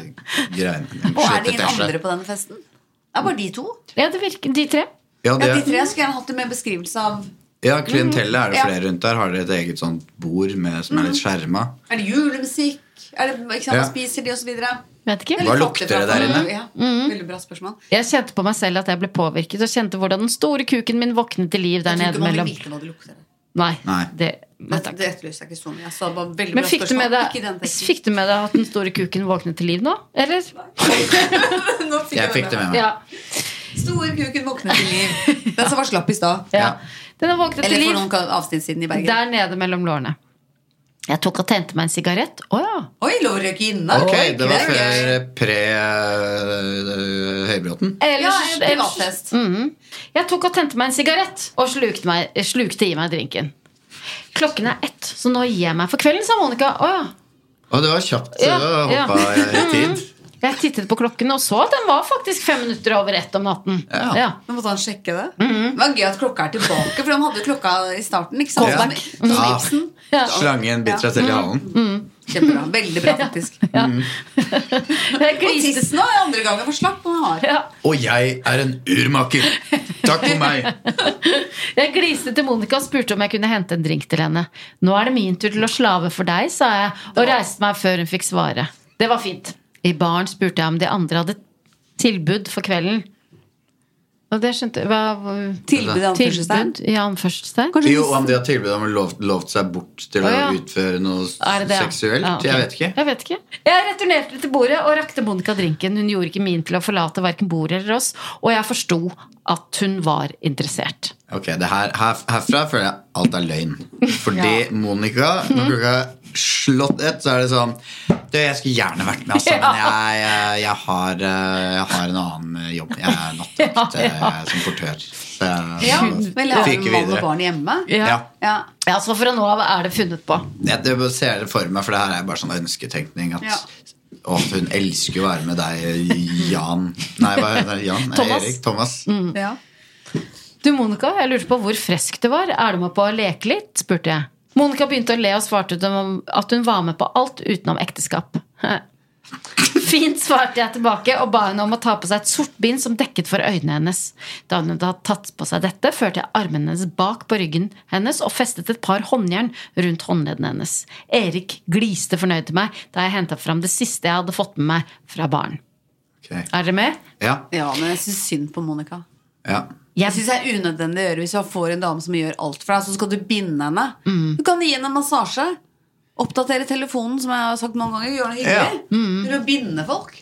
Speaker 5: greien.
Speaker 3: Og er det ingen
Speaker 5: Skjøtetasje.
Speaker 3: andre på denne festen? Det er bare de to.
Speaker 2: Ja, det virker, De tre.
Speaker 5: Ja,
Speaker 3: Ja,
Speaker 5: det,
Speaker 3: de tre Mm. skulle gjerne hatt det med beskrivelse av
Speaker 5: ja, klientellet er det
Speaker 3: Ja.
Speaker 5: flere rundt der. Har dere et eget sånt bord med, som
Speaker 3: Mm.
Speaker 5: er litt skjerma?
Speaker 3: Er det julemusikk? Er det, ikke sant,
Speaker 5: Ja.
Speaker 3: Hva spiser de, og så videre?
Speaker 2: Vet ikke.
Speaker 5: Hva lukter det der inne?
Speaker 3: Ja,
Speaker 2: Mhm.
Speaker 3: veldig bra spørsmål.
Speaker 2: Jeg kjente på meg selv at jeg ble påvirket, og kjente hvordan den store kuken min våknet til liv der
Speaker 3: Jeg tror
Speaker 2: nede
Speaker 3: ikke man vil
Speaker 2: mellom
Speaker 3: vite hva det lukter.
Speaker 2: Nei,
Speaker 5: Nei.
Speaker 2: det,
Speaker 3: Det,
Speaker 2: nei takk.
Speaker 3: det etterlyser jeg ikke så mye. Jeg sa bare veldig
Speaker 2: Men
Speaker 3: bra
Speaker 2: fikk du, med
Speaker 3: spørsmål. Ikke i den
Speaker 2: deg,
Speaker 3: teksten.
Speaker 2: fikk du med deg at den store kuken våknet til liv nå? Eller?
Speaker 3: Nå fikk
Speaker 5: Jeg fikk det med meg.
Speaker 2: Ja.
Speaker 3: Store kuken våknet til liv. Den som var slapp i stad.
Speaker 2: ja. Den har våknet til
Speaker 3: Eller for
Speaker 2: liv
Speaker 3: noen ka- avsnitt siden i Bergen.
Speaker 2: der nede mellom lårene. Jeg tok og tente meg en sigarett. Å ja.
Speaker 3: Oi, lov å røyke inne.
Speaker 5: Ok, det var eh,
Speaker 3: er gøy.
Speaker 5: før pre-Høybråten.
Speaker 3: Ja,
Speaker 2: Ellers,
Speaker 3: en
Speaker 2: ellers,
Speaker 3: privatfest.
Speaker 2: jeg tok og tente meg en sigarett og slukte, meg, slukte i meg drinken. Klokken er ett, så nå gir jeg meg for kvelden, sa Monica. Å ja.
Speaker 5: Og det var kjapt.
Speaker 2: Ja, Mm,
Speaker 5: Ja, Hoppa i tid.
Speaker 2: Jeg tittet på klokken og så at den var faktisk fem minutter over ett om natten.
Speaker 5: Ja.
Speaker 2: Ja.
Speaker 3: Men måtte han sjekke det?
Speaker 5: Mm-hmm.
Speaker 3: Det var gøy at klokka er tilbake, for de hadde jo klokka i starten. Ikke sant? Sånn,
Speaker 5: Callback.
Speaker 3: Som- som Ibsen.
Speaker 5: Ja. Slangen biter seg
Speaker 2: Mm.
Speaker 5: til i halen.
Speaker 3: Kjempebra. Veldig bra, faktisk.
Speaker 2: Jeg
Speaker 3: Og
Speaker 2: gliste
Speaker 3: tissen er andre gangen for slapp og hard.
Speaker 2: ja.
Speaker 5: Og jeg er en urmaker! Takk for meg!
Speaker 2: Jeg gliste til Monica og spurte om jeg kunne hente en drink til henne. Nå er det min tur til å slave for deg, sa jeg, og reiste meg før hun fikk svare. Det var fint. I baren spurte jeg om de andre hadde Tilbud for kvelden. Og det skjønte Hva
Speaker 3: Tilbud, anførselstegn.
Speaker 2: Tilbud i anførselstegn?
Speaker 3: Kanskje
Speaker 5: Jo, om de har tilbud om å lov, lovt seg bort til
Speaker 2: Å, ja.
Speaker 5: å utføre noe
Speaker 2: Er det det, ja?
Speaker 5: seksuelt.
Speaker 2: Ja, ok.
Speaker 5: Jeg vet ikke.
Speaker 2: Jeg vet ikke. Jeg returnerte til bordet og rakte Monica drinken. Hun gjorde ikke min til å forlate verken bordet eller oss, og jeg forsto at hun var interessert.
Speaker 5: Ok, det her, her, Herfra føler jeg alt er løgn. Fordi Monica, når klokka er slått ett, så er det sånn Du, jeg skulle gjerne vært med, altså, men jeg, jeg, jeg, har, eh, jeg har en annen jobb. Jeg er nattevakt
Speaker 2: Ja, ja.
Speaker 5: eh, som portør. Så jeg
Speaker 3: Ja, vel, har
Speaker 5: fikk
Speaker 3: hun mann og
Speaker 5: videre.
Speaker 3: barn hjemme?
Speaker 5: Ja.
Speaker 3: Ja.
Speaker 2: Ja, så fra nå av er det funnet på.
Speaker 5: Jeg, jeg bare ser det for meg, for det her er bare sånn ønsketenkning. At,
Speaker 3: Ja.
Speaker 5: Å, hun elsker å være med deg, Jan Nei, hva heter det? Jan? Nei,
Speaker 2: Thomas. Mm.
Speaker 5: Erik? Thomas.
Speaker 3: Ja.
Speaker 2: Du, Monica, jeg lurte på hvor fresk det var. Er du med på å leke litt? spurte jeg. Monica begynte å le og svarte ut om at hun var med på alt utenom ekteskap. Fint, svarte jeg tilbake og ba henne om å ta på seg et sort bind som dekket for øynene hennes. Da hun hadde tatt på seg dette, førte jeg armene hennes bak på ryggen hennes og festet et par håndjern rundt håndleddene hennes. Erik gliste fornøyd til meg da jeg henta fram det siste jeg hadde fått med meg fra baren.
Speaker 5: Ok.
Speaker 2: Er dere med?
Speaker 5: Ja,
Speaker 3: ja, men jeg syns synd på Monica.
Speaker 5: ja.
Speaker 3: Jeg syns det er unødvendig å gjøre hvis du får en dame som gjør alt for deg, så skal du binde henne.
Speaker 5: Mm.
Speaker 3: Du kan gi henne en massasje. Oppdatere telefonen, som jeg har sagt mange ganger. Gjøre noe hyggelig.
Speaker 5: Mm.
Speaker 3: Til å binde folk.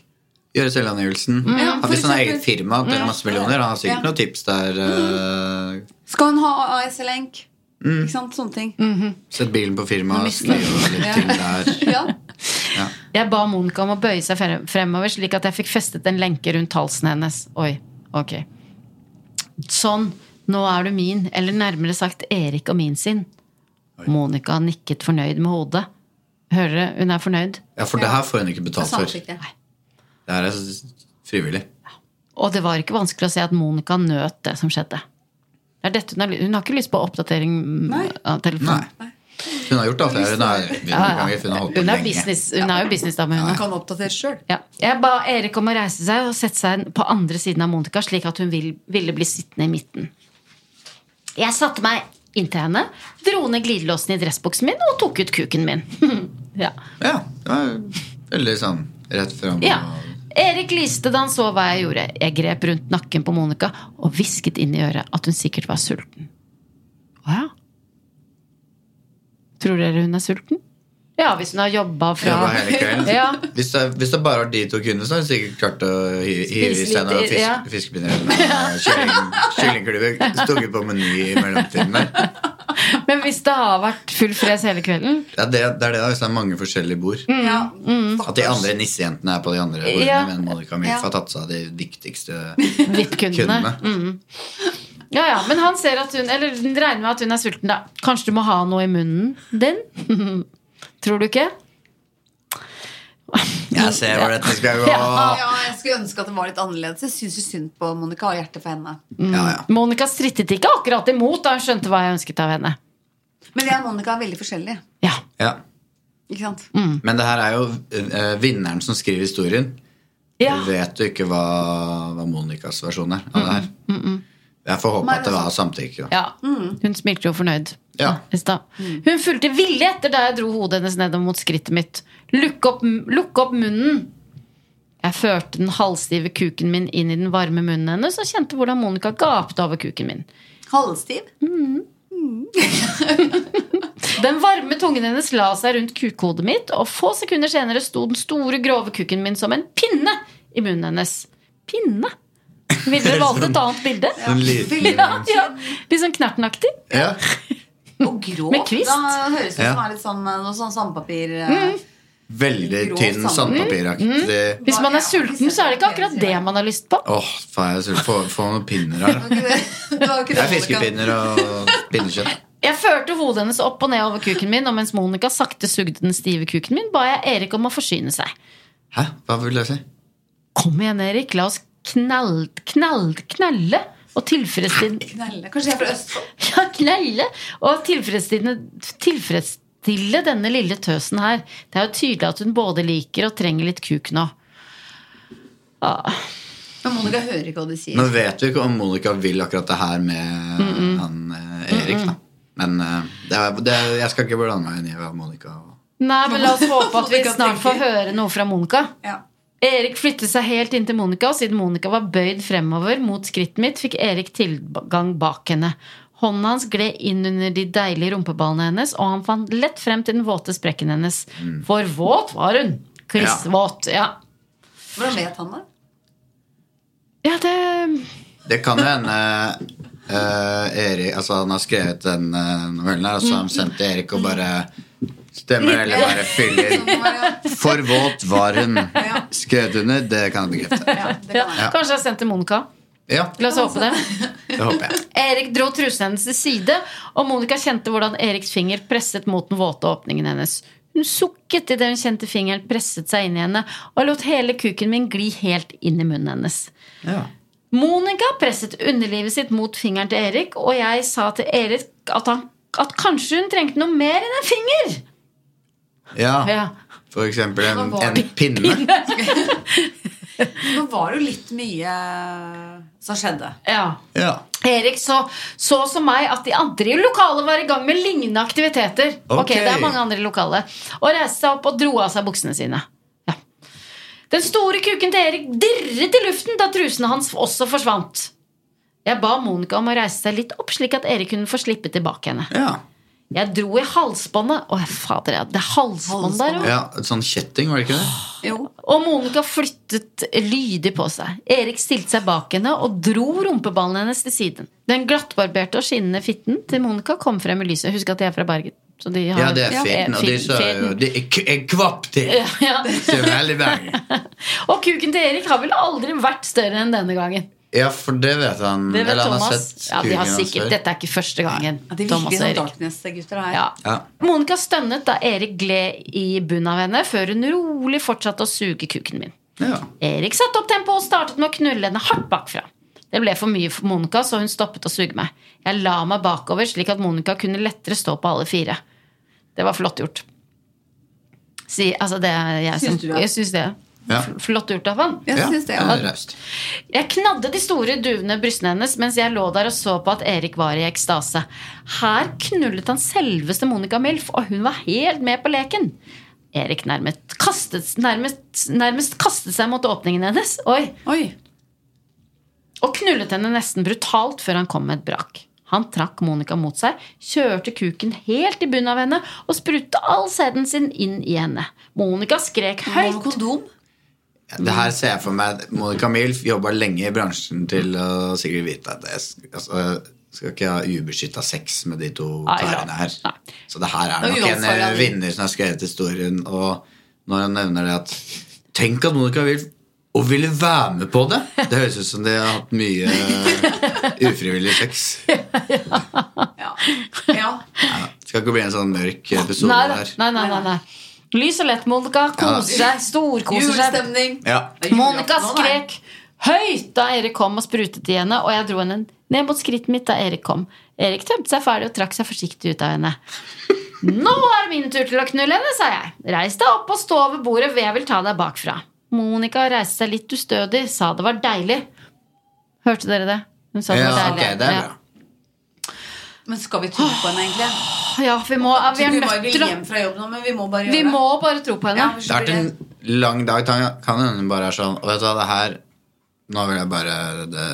Speaker 5: Gjøre selvangivelsen.
Speaker 2: Mm.
Speaker 3: Ja,
Speaker 5: Han Hvis
Speaker 3: for
Speaker 5: han har
Speaker 3: eksempel.
Speaker 5: eget firma til masse millioner, han har sikkert
Speaker 3: Ja.
Speaker 5: noen tips der. eh,
Speaker 3: Skal hun ha AS-lenk?
Speaker 5: Mm.
Speaker 3: Ikke sant? Sånne ting.
Speaker 5: sett bilen på firmaet,
Speaker 3: mister
Speaker 5: skrive litt til der.
Speaker 3: Ja.
Speaker 2: Jeg ba Monica om å bøye seg fre- fremover, slik at jeg fikk festet en lenke rundt halsen hennes. Oi, ok. Sånn, nå er du min, eller nærmere sagt Erik og min sin. Monica nikket fornøyd med hodet. Hører dere, hun er fornøyd.
Speaker 5: Ja, for det her får hun ikke betalt for. Det
Speaker 3: Samtykke.
Speaker 5: her er s- frivillig.
Speaker 2: Og det var ikke vanskelig å se at Monica nøt det som skjedde. Det er dette hun, har, ly- hun har ikke lyst på oppdatering mm,
Speaker 3: Nei.
Speaker 2: av
Speaker 5: Nei.
Speaker 2: telefonen.
Speaker 5: Hun har gjort alt det her. Hun er, hun
Speaker 2: Ja, ja.
Speaker 5: har holdt på
Speaker 2: Hun er,
Speaker 5: lenge.
Speaker 2: business, hun er jo businessdame, hun
Speaker 3: Hun
Speaker 2: òg.
Speaker 3: kan oppdatere sjøl.
Speaker 2: Ja. Jeg ba Erik om å reise seg og sette seg på andre siden av Monica, slik at hun vil, ville bli sittende i midten. Jeg satte meg inntil henne, dro ned glidelåsen i dressbuksen min og tok ut kuken min. ja.
Speaker 5: Ja, det var veldig sånn rett fram.
Speaker 2: ja.
Speaker 5: og-
Speaker 2: Erik lyste da han så hva jeg gjorde. Jeg grep rundt nakken på Monica og hvisket inn i øret at hun sikkert var sulten. Å ja. Tror dere hun er sulten? Ja, hvis hun har jobba fra
Speaker 5: Jobba hele kvelden.
Speaker 2: ja.
Speaker 5: Hvis, det, hvis det bare var de to kundene, så har hun sikkert klart å hy- hyre
Speaker 2: Spise
Speaker 5: seg noen
Speaker 2: litt,
Speaker 5: fisk,
Speaker 2: ja.
Speaker 5: fiskepinner eller kylling- kyllingklubber. Stukket på meny i mellomtiden der.
Speaker 2: Men hvis det har vært full fres hele kvelden
Speaker 5: Ja, det, det er det da, hvis det er mange forskjellige bord.
Speaker 3: Ja.
Speaker 5: At de andre nissejentene er på de andre bordene,
Speaker 2: Ja.
Speaker 5: men Monica Milf har tatt seg av de viktigste
Speaker 2: VIP-kundene.
Speaker 5: kundene.
Speaker 2: Ja, ja, men han ser at hun Eller hun regner med at hun er sulten, da. Kanskje du må ha noe i munnen din? Tror du ikke?
Speaker 5: Jeg ser hvor dette skal gå. Ja,
Speaker 3: Ja, jeg skulle ønske at det var litt annerledes. Jeg syns jo synd på Monica og hjertet for henne.
Speaker 5: ja.
Speaker 2: Monica strittet ikke akkurat imot da hun skjønte hva jeg ønsket av henne.
Speaker 3: Men jeg og Monica er veldig forskjellige.
Speaker 2: Ja,
Speaker 5: ja.
Speaker 3: Ikke sant?
Speaker 5: Men det her er jo eh, vinneren som skriver historien.
Speaker 2: ja.
Speaker 5: Du vet jo ikke hva, hva Monicas versjon er av det her. Jeg får håpe
Speaker 3: Nei,
Speaker 5: at det var samtykke. da.
Speaker 2: altså. ja. Hun smilte jo fornøyd.
Speaker 5: Ja.
Speaker 2: i stad. Hun fulgte villig etter da jeg dro hodet hennes nedover mot skrittet mitt. Lukk opp, lukk opp munnen! Jeg førte den halvstive kuken min inn i den varme munnen hennes og kjente hvordan Monica gapte over kuken min.
Speaker 3: Halvstiv.
Speaker 2: Den varme tungen hennes la seg rundt kukhodet mitt, og få sekunder senere sto den store, grove kukken min som en pinne i munnen hennes. Pinne? Ville dere valgt et annet bilde?
Speaker 5: En liten-
Speaker 2: Ja, ja. Litt sånn knertenaktig.
Speaker 5: Ja.
Speaker 3: Og grå.
Speaker 2: Med kvist.
Speaker 3: Da høres det ut som
Speaker 5: Ja.
Speaker 3: er litt sånn, eh, noe sånn sandpapir eh,
Speaker 5: Veldig
Speaker 3: Grå
Speaker 5: tynn
Speaker 3: sand.
Speaker 2: Mm.
Speaker 5: sandpapiraktig.
Speaker 2: Hvis man er sulten, så er det ikke akkurat det man har lyst på.
Speaker 5: Åh, faen, jeg skulle få, få noen pinner her. da.
Speaker 3: Det var ikke
Speaker 5: Det er
Speaker 3: det Monica-
Speaker 5: fiskepinner og pinnekjøtt.
Speaker 2: Jeg førte hodet hennes opp og ned over kuken min, og mens Monica sakte sugde den stive kuken min, ba jeg Erik om å forsyne seg.
Speaker 5: Hæ? Hva vil jeg si?
Speaker 2: Kom igjen, Erik, la oss knall, knall, knalle og tilfredsstille
Speaker 3: Knelle. Kanskje jeg er fra Østfold?
Speaker 2: Ja, knelle Og tilfredsstille, tilfredsstille denne lille tøsen her. Det er jo tydelig at hun både liker og trenger litt kuk nå. Ah,
Speaker 3: Men Monica hører ikke hva de sier.
Speaker 5: Nå vet vi ikke om Monica vil akkurat det her med han eh, Erik, da. Men eh, det er, det er, jeg skal ikke blande meg inn i hva Monica
Speaker 2: Nei, men la oss håpe at vi
Speaker 3: Monica
Speaker 2: snart får høre noe fra Monica.
Speaker 3: Ja.
Speaker 2: Erik flyttet seg helt inntil Monica, og siden Monica var bøyd fremover mot skrittet mitt, fikk Erik tilgang bak henne. Hånda hans gled inn under de deilige rumpeballene hennes, og han fant lett frem til den våte sprekken hennes. For våt var hun! Klissvåt. Ja.
Speaker 3: Hvordan vet han det?
Speaker 2: Ja, det
Speaker 5: Det kan jo hende eh, Erik, altså Han har skrevet den eh, novellen her, og så har han sendt til Erik og bare Stemmer eller bare fyller. For våt var hun. Skrevet under, det kan jeg bekrefte.
Speaker 2: ja. Kanskje jeg sendte Monica.
Speaker 5: Ja,
Speaker 2: La oss håpe det.
Speaker 5: det håper jeg.
Speaker 2: Erik dro trusen hennes til side, og Monica kjente hvordan Eriks finger presset mot den våte åpningen hennes. Hun sukket idet hun kjente fingeren presset seg inn i henne, og lot hele kuken min gli helt inn i munnen hennes. Monica presset underlivet sitt mot fingeren til Erik, og jeg sa til Erik at, han, at kanskje hun trengte noe mer enn en finger.
Speaker 5: Ja,
Speaker 2: Ja.
Speaker 5: for eksempel en, en pinne.
Speaker 3: Nå var det jo litt mye eh, som skjedde.
Speaker 2: ja.
Speaker 5: Ja.
Speaker 2: Erik så, så som meg at de andre i lokalet var i gang med lignende aktiviteter. Ok,
Speaker 5: Ok.
Speaker 2: det er mange andre i lokalet Og reiste seg opp og dro av seg buksene sine. Ja. Den store kuken til Erik dirret i luften da trusene hans også forsvant. Jeg ba Monica om å reise seg litt opp, slik at Erik kunne få slippe tilbake henne.
Speaker 5: Ja.
Speaker 2: Jeg dro i halsbåndet. Å, fader, ja, det er halsbånd der òg.
Speaker 5: ja, et sånn kjetting, var det ikke det?
Speaker 3: Jo.
Speaker 2: Og Monica flyttet lydig på seg. Erik stilte seg bak henne og dro rumpeballen hennes til siden. Den glattbarberte og skinnende fitten til Monica kom frem i lyset. Husk at de er fra Bergen. Så de har,
Speaker 5: Ja, det er
Speaker 2: Ja,
Speaker 5: fint. Og
Speaker 2: fin-
Speaker 5: de sa jo
Speaker 2: fin.
Speaker 5: Det er k- en kvapp til!
Speaker 2: Ja.
Speaker 5: Det er veldig verre.
Speaker 2: Og kuken til Erik har vel aldri vært større enn denne gangen.
Speaker 5: Ja, for det vet han.
Speaker 2: Det vet
Speaker 5: Eller han har
Speaker 2: Thomas.
Speaker 5: sett
Speaker 2: Ja, de har
Speaker 5: kuken hans
Speaker 2: sikkert,
Speaker 5: før.
Speaker 2: dette er ikke første gangen.
Speaker 3: Ja, de
Speaker 2: Thomas og
Speaker 3: virker som
Speaker 2: Erik.
Speaker 3: sånn Darkness-gutter her.
Speaker 2: Ja.
Speaker 5: Ja.
Speaker 2: Monica stønnet da Erik gled i bunnen av henne, før hun rolig fortsatte å suge kuken min.
Speaker 5: Ja.
Speaker 2: Erik satte opp tempoet og startet med å knulle henne hardt bakfra. Det ble for mye for Monica, så hun stoppet å suge meg. Jeg la meg bakover, slik at Monica kunne lettere stå på alle fire. Det var flott gjort. Si, altså det er jeg som,
Speaker 3: Syns du det?
Speaker 2: Jeg syns det.
Speaker 5: Ja.
Speaker 2: F- Flott gjort av han.
Speaker 3: Jeg
Speaker 5: Ja,
Speaker 3: synes det,
Speaker 5: det
Speaker 3: ja.
Speaker 5: er raust.
Speaker 2: Jeg knadde de store duvne brystene hennes mens jeg lå der og så på at Erik var i ekstase. Her knullet han selveste Monica Milf, og hun var helt med på leken. Erik nærmest kastet, nærmest, nærmest kastet seg mot åpningen hennes. Oi,
Speaker 3: Oi.
Speaker 2: og knullet henne nesten brutalt før han kom med et brak. Han trakk Monica mot seg, kjørte kuken helt i bunnen av henne og sprutte all sæden sin inn i henne. Monica skrek
Speaker 3: Må ha
Speaker 2: høyt.
Speaker 3: kondom.
Speaker 5: Det her ser jeg for meg Monica Milf jobba lenge i bransjen til å sikkert vite at jeg sk- altså, jeg skal ikke ha ubeskytta sex med de to
Speaker 2: Nei,
Speaker 5: karene her.
Speaker 2: nei.
Speaker 5: Så det her er
Speaker 3: Det er
Speaker 5: nok en eh,
Speaker 3: uansvarlig.
Speaker 5: vinner som har skrevet historien. Og når han nevner det at Tenk at Monica Milf og ville være med på det! Det høres ut som de har hatt mye eh, ufrivillig sex.
Speaker 3: Ja. ja.
Speaker 5: Ja, det skal ikke bli en sånn mørk episode
Speaker 2: Nei,
Speaker 5: der.
Speaker 2: nei, nei, nei, nei. Lys og lett, Monica. Koser seg. Storkoser seg.
Speaker 3: Julestemning.
Speaker 5: Ja.
Speaker 3: Det er julaften
Speaker 2: Monica
Speaker 3: nå, da.
Speaker 2: skrek høyt da Erik kom og sprutet i henne, og jeg dro henne ned mot skrittet mitt da Erik kom. Erik tømte seg ferdig og trakk seg forsiktig ut av henne. Nå er det min tur til å knulle henne, sa jeg. Reis deg opp og stå over bordet, for jeg vil ta deg bakfra. Monica reiste seg litt ustødig, sa det var deilig. Hørte dere det? Hun sa det
Speaker 5: Ja,
Speaker 2: var
Speaker 5: ok,
Speaker 2: deilig.
Speaker 5: det er
Speaker 2: Ja.
Speaker 5: bra.
Speaker 3: Men skal vi tro på henne, egentlig?
Speaker 2: Ja, vi, må, vi
Speaker 3: Vi
Speaker 2: er
Speaker 3: bare
Speaker 2: nødt
Speaker 3: vil
Speaker 2: til å
Speaker 3: hjem fra jobb nå, men vi må bare gjøre
Speaker 2: Vi må bare tro på
Speaker 3: det. Ja,
Speaker 2: henne.
Speaker 3: ellers
Speaker 5: Det har
Speaker 3: blir
Speaker 5: vært en lang dag. Tanja. Kan hende hun bare er sånn Og vet du hva, det her Nå vil jeg bare det,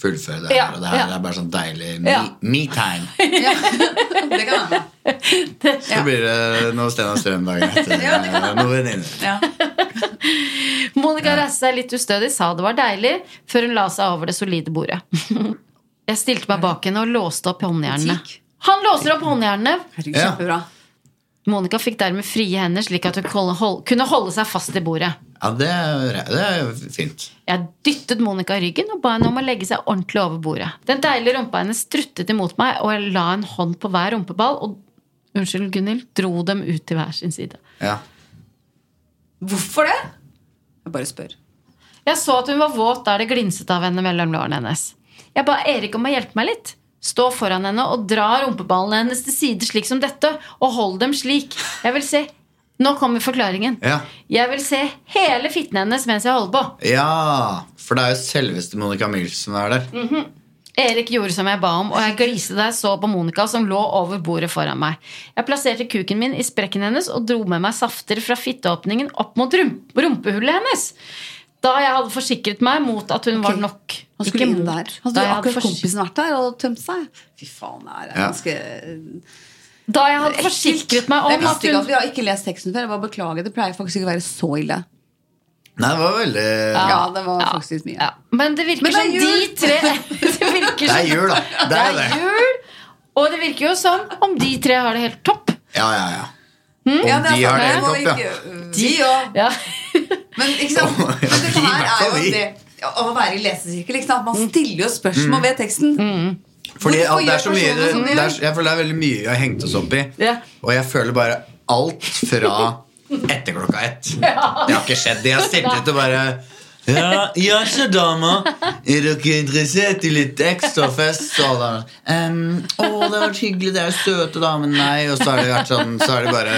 Speaker 5: fullføre det her,
Speaker 2: Ja,
Speaker 5: og det her
Speaker 2: ja.
Speaker 5: er bare sånn deilig
Speaker 2: Ja.
Speaker 5: me-time.
Speaker 3: Ja, det kan hende.
Speaker 5: Så blir det noe Sten og Strøm dagen etter.
Speaker 3: Ja, det kan
Speaker 5: eh, Noe venninner.
Speaker 3: Ja.
Speaker 2: Monica reiste seg litt ustødig, sa det var deilig, før hun la seg over det solide bordet. Jeg stilte meg bak henne og låste opp håndjernene.
Speaker 3: Butikk.
Speaker 2: Han låser opp håndjernene!
Speaker 3: Herregud,
Speaker 5: Ja.
Speaker 3: kjempebra.
Speaker 2: Monica fikk dermed frie hender, slik at hun kol- hol- kunne holde seg fast i bordet.
Speaker 5: Ja, det er, det er jo fint.
Speaker 2: Jeg dyttet Monica i ryggen og ba henne om å legge seg ordentlig over bordet. Den deilige rumpa hennes struttet imot meg, og jeg la en hånd på hver rumpeball og unnskyld, Gunhild, dro dem ut til hver sin side.
Speaker 5: Ja.
Speaker 3: Hvorfor det? Jeg bare spør.
Speaker 2: Jeg så at hun var våt der det glinset av henne mellom lårene hennes. Jeg ba Erik om å hjelpe meg litt. Stå foran henne og dra rumpeballene hennes til side slik som dette, og hold dem slik. Jeg vil se Nå kommer forklaringen.
Speaker 5: Ja.
Speaker 2: Jeg vil se hele fitten hennes mens jeg holder på.
Speaker 3: Mm.
Speaker 5: ja, for det er jo selveste Monica Milf som er der.
Speaker 2: Erik gjorde som jeg ba om, og jeg gliste da jeg så på Monica som lå over bordet foran meg. Jeg plasserte kuken min i sprekken hennes og dro med meg safter fra fitteåpningen opp mot rum rumpehullet hennes. Da jeg hadde forsikret meg mot at hun var
Speaker 3: Ok.
Speaker 2: nok.
Speaker 3: Han skulle inn der. Han
Speaker 2: Da jeg
Speaker 3: skulle
Speaker 2: hadde
Speaker 3: akkurat
Speaker 2: forsik-
Speaker 3: kompisen vært der og tømt seg. Fy faen, det er
Speaker 5: Ja.
Speaker 3: ganske
Speaker 2: Da jeg hadde forsikret meg
Speaker 3: Jeg
Speaker 2: om at
Speaker 3: visste ikke
Speaker 2: hun
Speaker 3: at vi har ikke lest teksten før. Jeg bare beklager, det pleier faktisk ikke å være så ille.
Speaker 5: Nei, det var veldig
Speaker 3: Ja,
Speaker 5: ja.
Speaker 3: det var faktisk litt mye.
Speaker 2: ja. Men det virker
Speaker 3: Men det er
Speaker 2: som de
Speaker 3: jul!
Speaker 2: tre Det virker
Speaker 5: Det er
Speaker 2: som
Speaker 5: jul, da. Det er det.
Speaker 2: jul! Og det virker jo som om de tre har det helt topp.
Speaker 5: Ja, ja, ja. Om
Speaker 3: Hm? Ja, det er
Speaker 5: de har det
Speaker 3: sant,
Speaker 5: helt
Speaker 3: det må
Speaker 5: opp,
Speaker 3: vi
Speaker 5: ja.
Speaker 3: ikke- Vi òg.
Speaker 2: Ja.
Speaker 3: Men ikke sant?
Speaker 5: Å, ja,
Speaker 3: Men dette
Speaker 5: vi, i Mm. hvert
Speaker 3: her
Speaker 5: fall
Speaker 3: er
Speaker 5: vi.
Speaker 3: jo det ja, å være i lesesirkel. Ikke sant? Man stiller jo spørsmål ved teksten.
Speaker 2: Mm.
Speaker 5: Fordi
Speaker 3: Hvorfor
Speaker 5: at det er så
Speaker 3: gjør
Speaker 5: mye
Speaker 3: personer som de
Speaker 5: det er,
Speaker 3: gjør?
Speaker 5: Jeg føler det er veldig mye jeg har hengt oss opp i.
Speaker 2: sånn, Ja.
Speaker 5: Og jeg føler bare alt fra etter klokka ett. Det har ikke skjedd. Jeg har sittet og bare ja, jaså, dama. Er dere interessert i litt ekstra fest? Så da, um, å, det har vært hyggelig. Det er søte damen. Nei. Og så har det vært sånn Så har de bare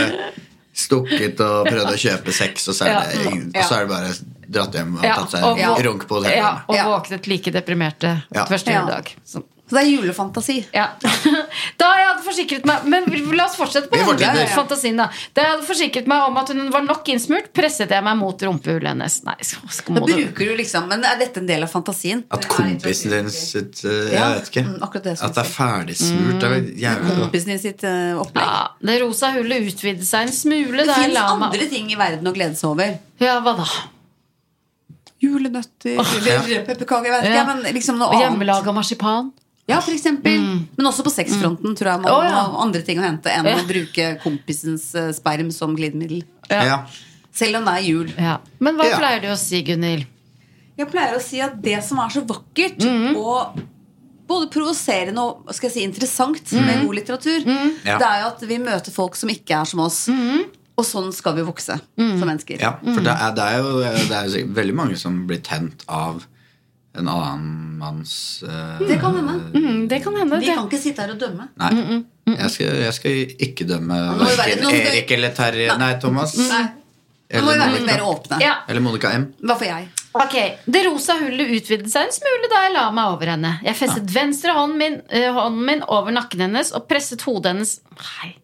Speaker 5: stukket og prøvd å kjøpe sex, og så er det, ingen- og så er det bare dratt hjem og
Speaker 2: Ja,
Speaker 5: tatt seg
Speaker 2: og-
Speaker 5: en runk på hotellet.
Speaker 2: Ja, og
Speaker 3: Ja.
Speaker 2: våknet like deprimerte
Speaker 5: Ja.
Speaker 2: første
Speaker 3: Ja.
Speaker 2: juledag. Sånn.
Speaker 3: Så det er julefantasi.
Speaker 2: Ja. Da jeg hadde forsikret meg Men la oss fortsette på
Speaker 5: Vi
Speaker 2: den
Speaker 5: fortsetter.
Speaker 2: andre
Speaker 5: Ja, ja.
Speaker 2: fantasien. Da Da jeg hadade forsikret meg om at hun var nok innsmurt, presset jeg meg mot rumpehullet hennes. Nei, sk- sk-
Speaker 3: Da
Speaker 2: må du
Speaker 3: bruker du liksom Men er dette en del av fantasien?
Speaker 5: At kompisen din sitt eh, Jeg
Speaker 3: Ja,
Speaker 5: vet ikke.
Speaker 3: mm, akkurat det som Mm.
Speaker 5: At det er ferdigsmurt. Det er vel jævlig godt.
Speaker 3: Kompisen din sitt eh, opplegg.
Speaker 2: ja, Det rosa hullet utvidet seg en smule
Speaker 3: Det
Speaker 2: da jeg
Speaker 3: fins
Speaker 2: la meg
Speaker 3: andre ting i verden å glede seg over.
Speaker 2: Ja, hva da?
Speaker 3: Julenøtter eller pepperkaker. jeg vet
Speaker 2: Ja.
Speaker 3: ikke, Men liksom noe annet.
Speaker 2: Hjemmelaga marsipan.
Speaker 3: Ja, for eksempel. Men også på sexfronten tror jeg man
Speaker 2: Mm. Å, ja.
Speaker 3: har andre ting å hente enn
Speaker 2: Ja.
Speaker 3: å bruke kompisens eh, sperm som glidemiddel.
Speaker 5: Ja. Ja.
Speaker 3: Selv om det er jul.
Speaker 2: Ja. Men hva
Speaker 5: Ja.
Speaker 2: pleier du å si, Gunhild?
Speaker 3: Jeg pleier å si at det som er så vakkert
Speaker 5: Mhm.
Speaker 3: og både provoserende og skal jeg si, interessant med god litteratur,
Speaker 5: Mhm. Ja. Mhm.
Speaker 3: det er jo at vi møter folk som ikke er som oss. Og sånn skal vi vokse som mennesker.
Speaker 5: for
Speaker 3: Mm.
Speaker 5: det er, det er jo det er jo sikkert veldig mange som blir tent av en annen manns eh,
Speaker 3: Det kan hende.
Speaker 2: Mm, Det kan hende.
Speaker 3: Vi
Speaker 2: det.
Speaker 3: kan ikke sitte her og dømme.
Speaker 5: Nei. Jeg, skal, jeg skal ikke dømme
Speaker 3: må jo være-
Speaker 5: verken
Speaker 3: mm, nå skal-
Speaker 5: Erik eller Terje Nei, Thomas.
Speaker 3: Nei. Nå må vi være litt mer åpne.
Speaker 2: Ja.
Speaker 5: Eller Monica M.
Speaker 3: Hva får jeg?
Speaker 2: Ok, Det rosa hullet utvidet seg en smule da jeg la meg over henne. Jeg festet venstre hånden min, eh, hånden min over nakken hennes og presset hodet hennes Nei.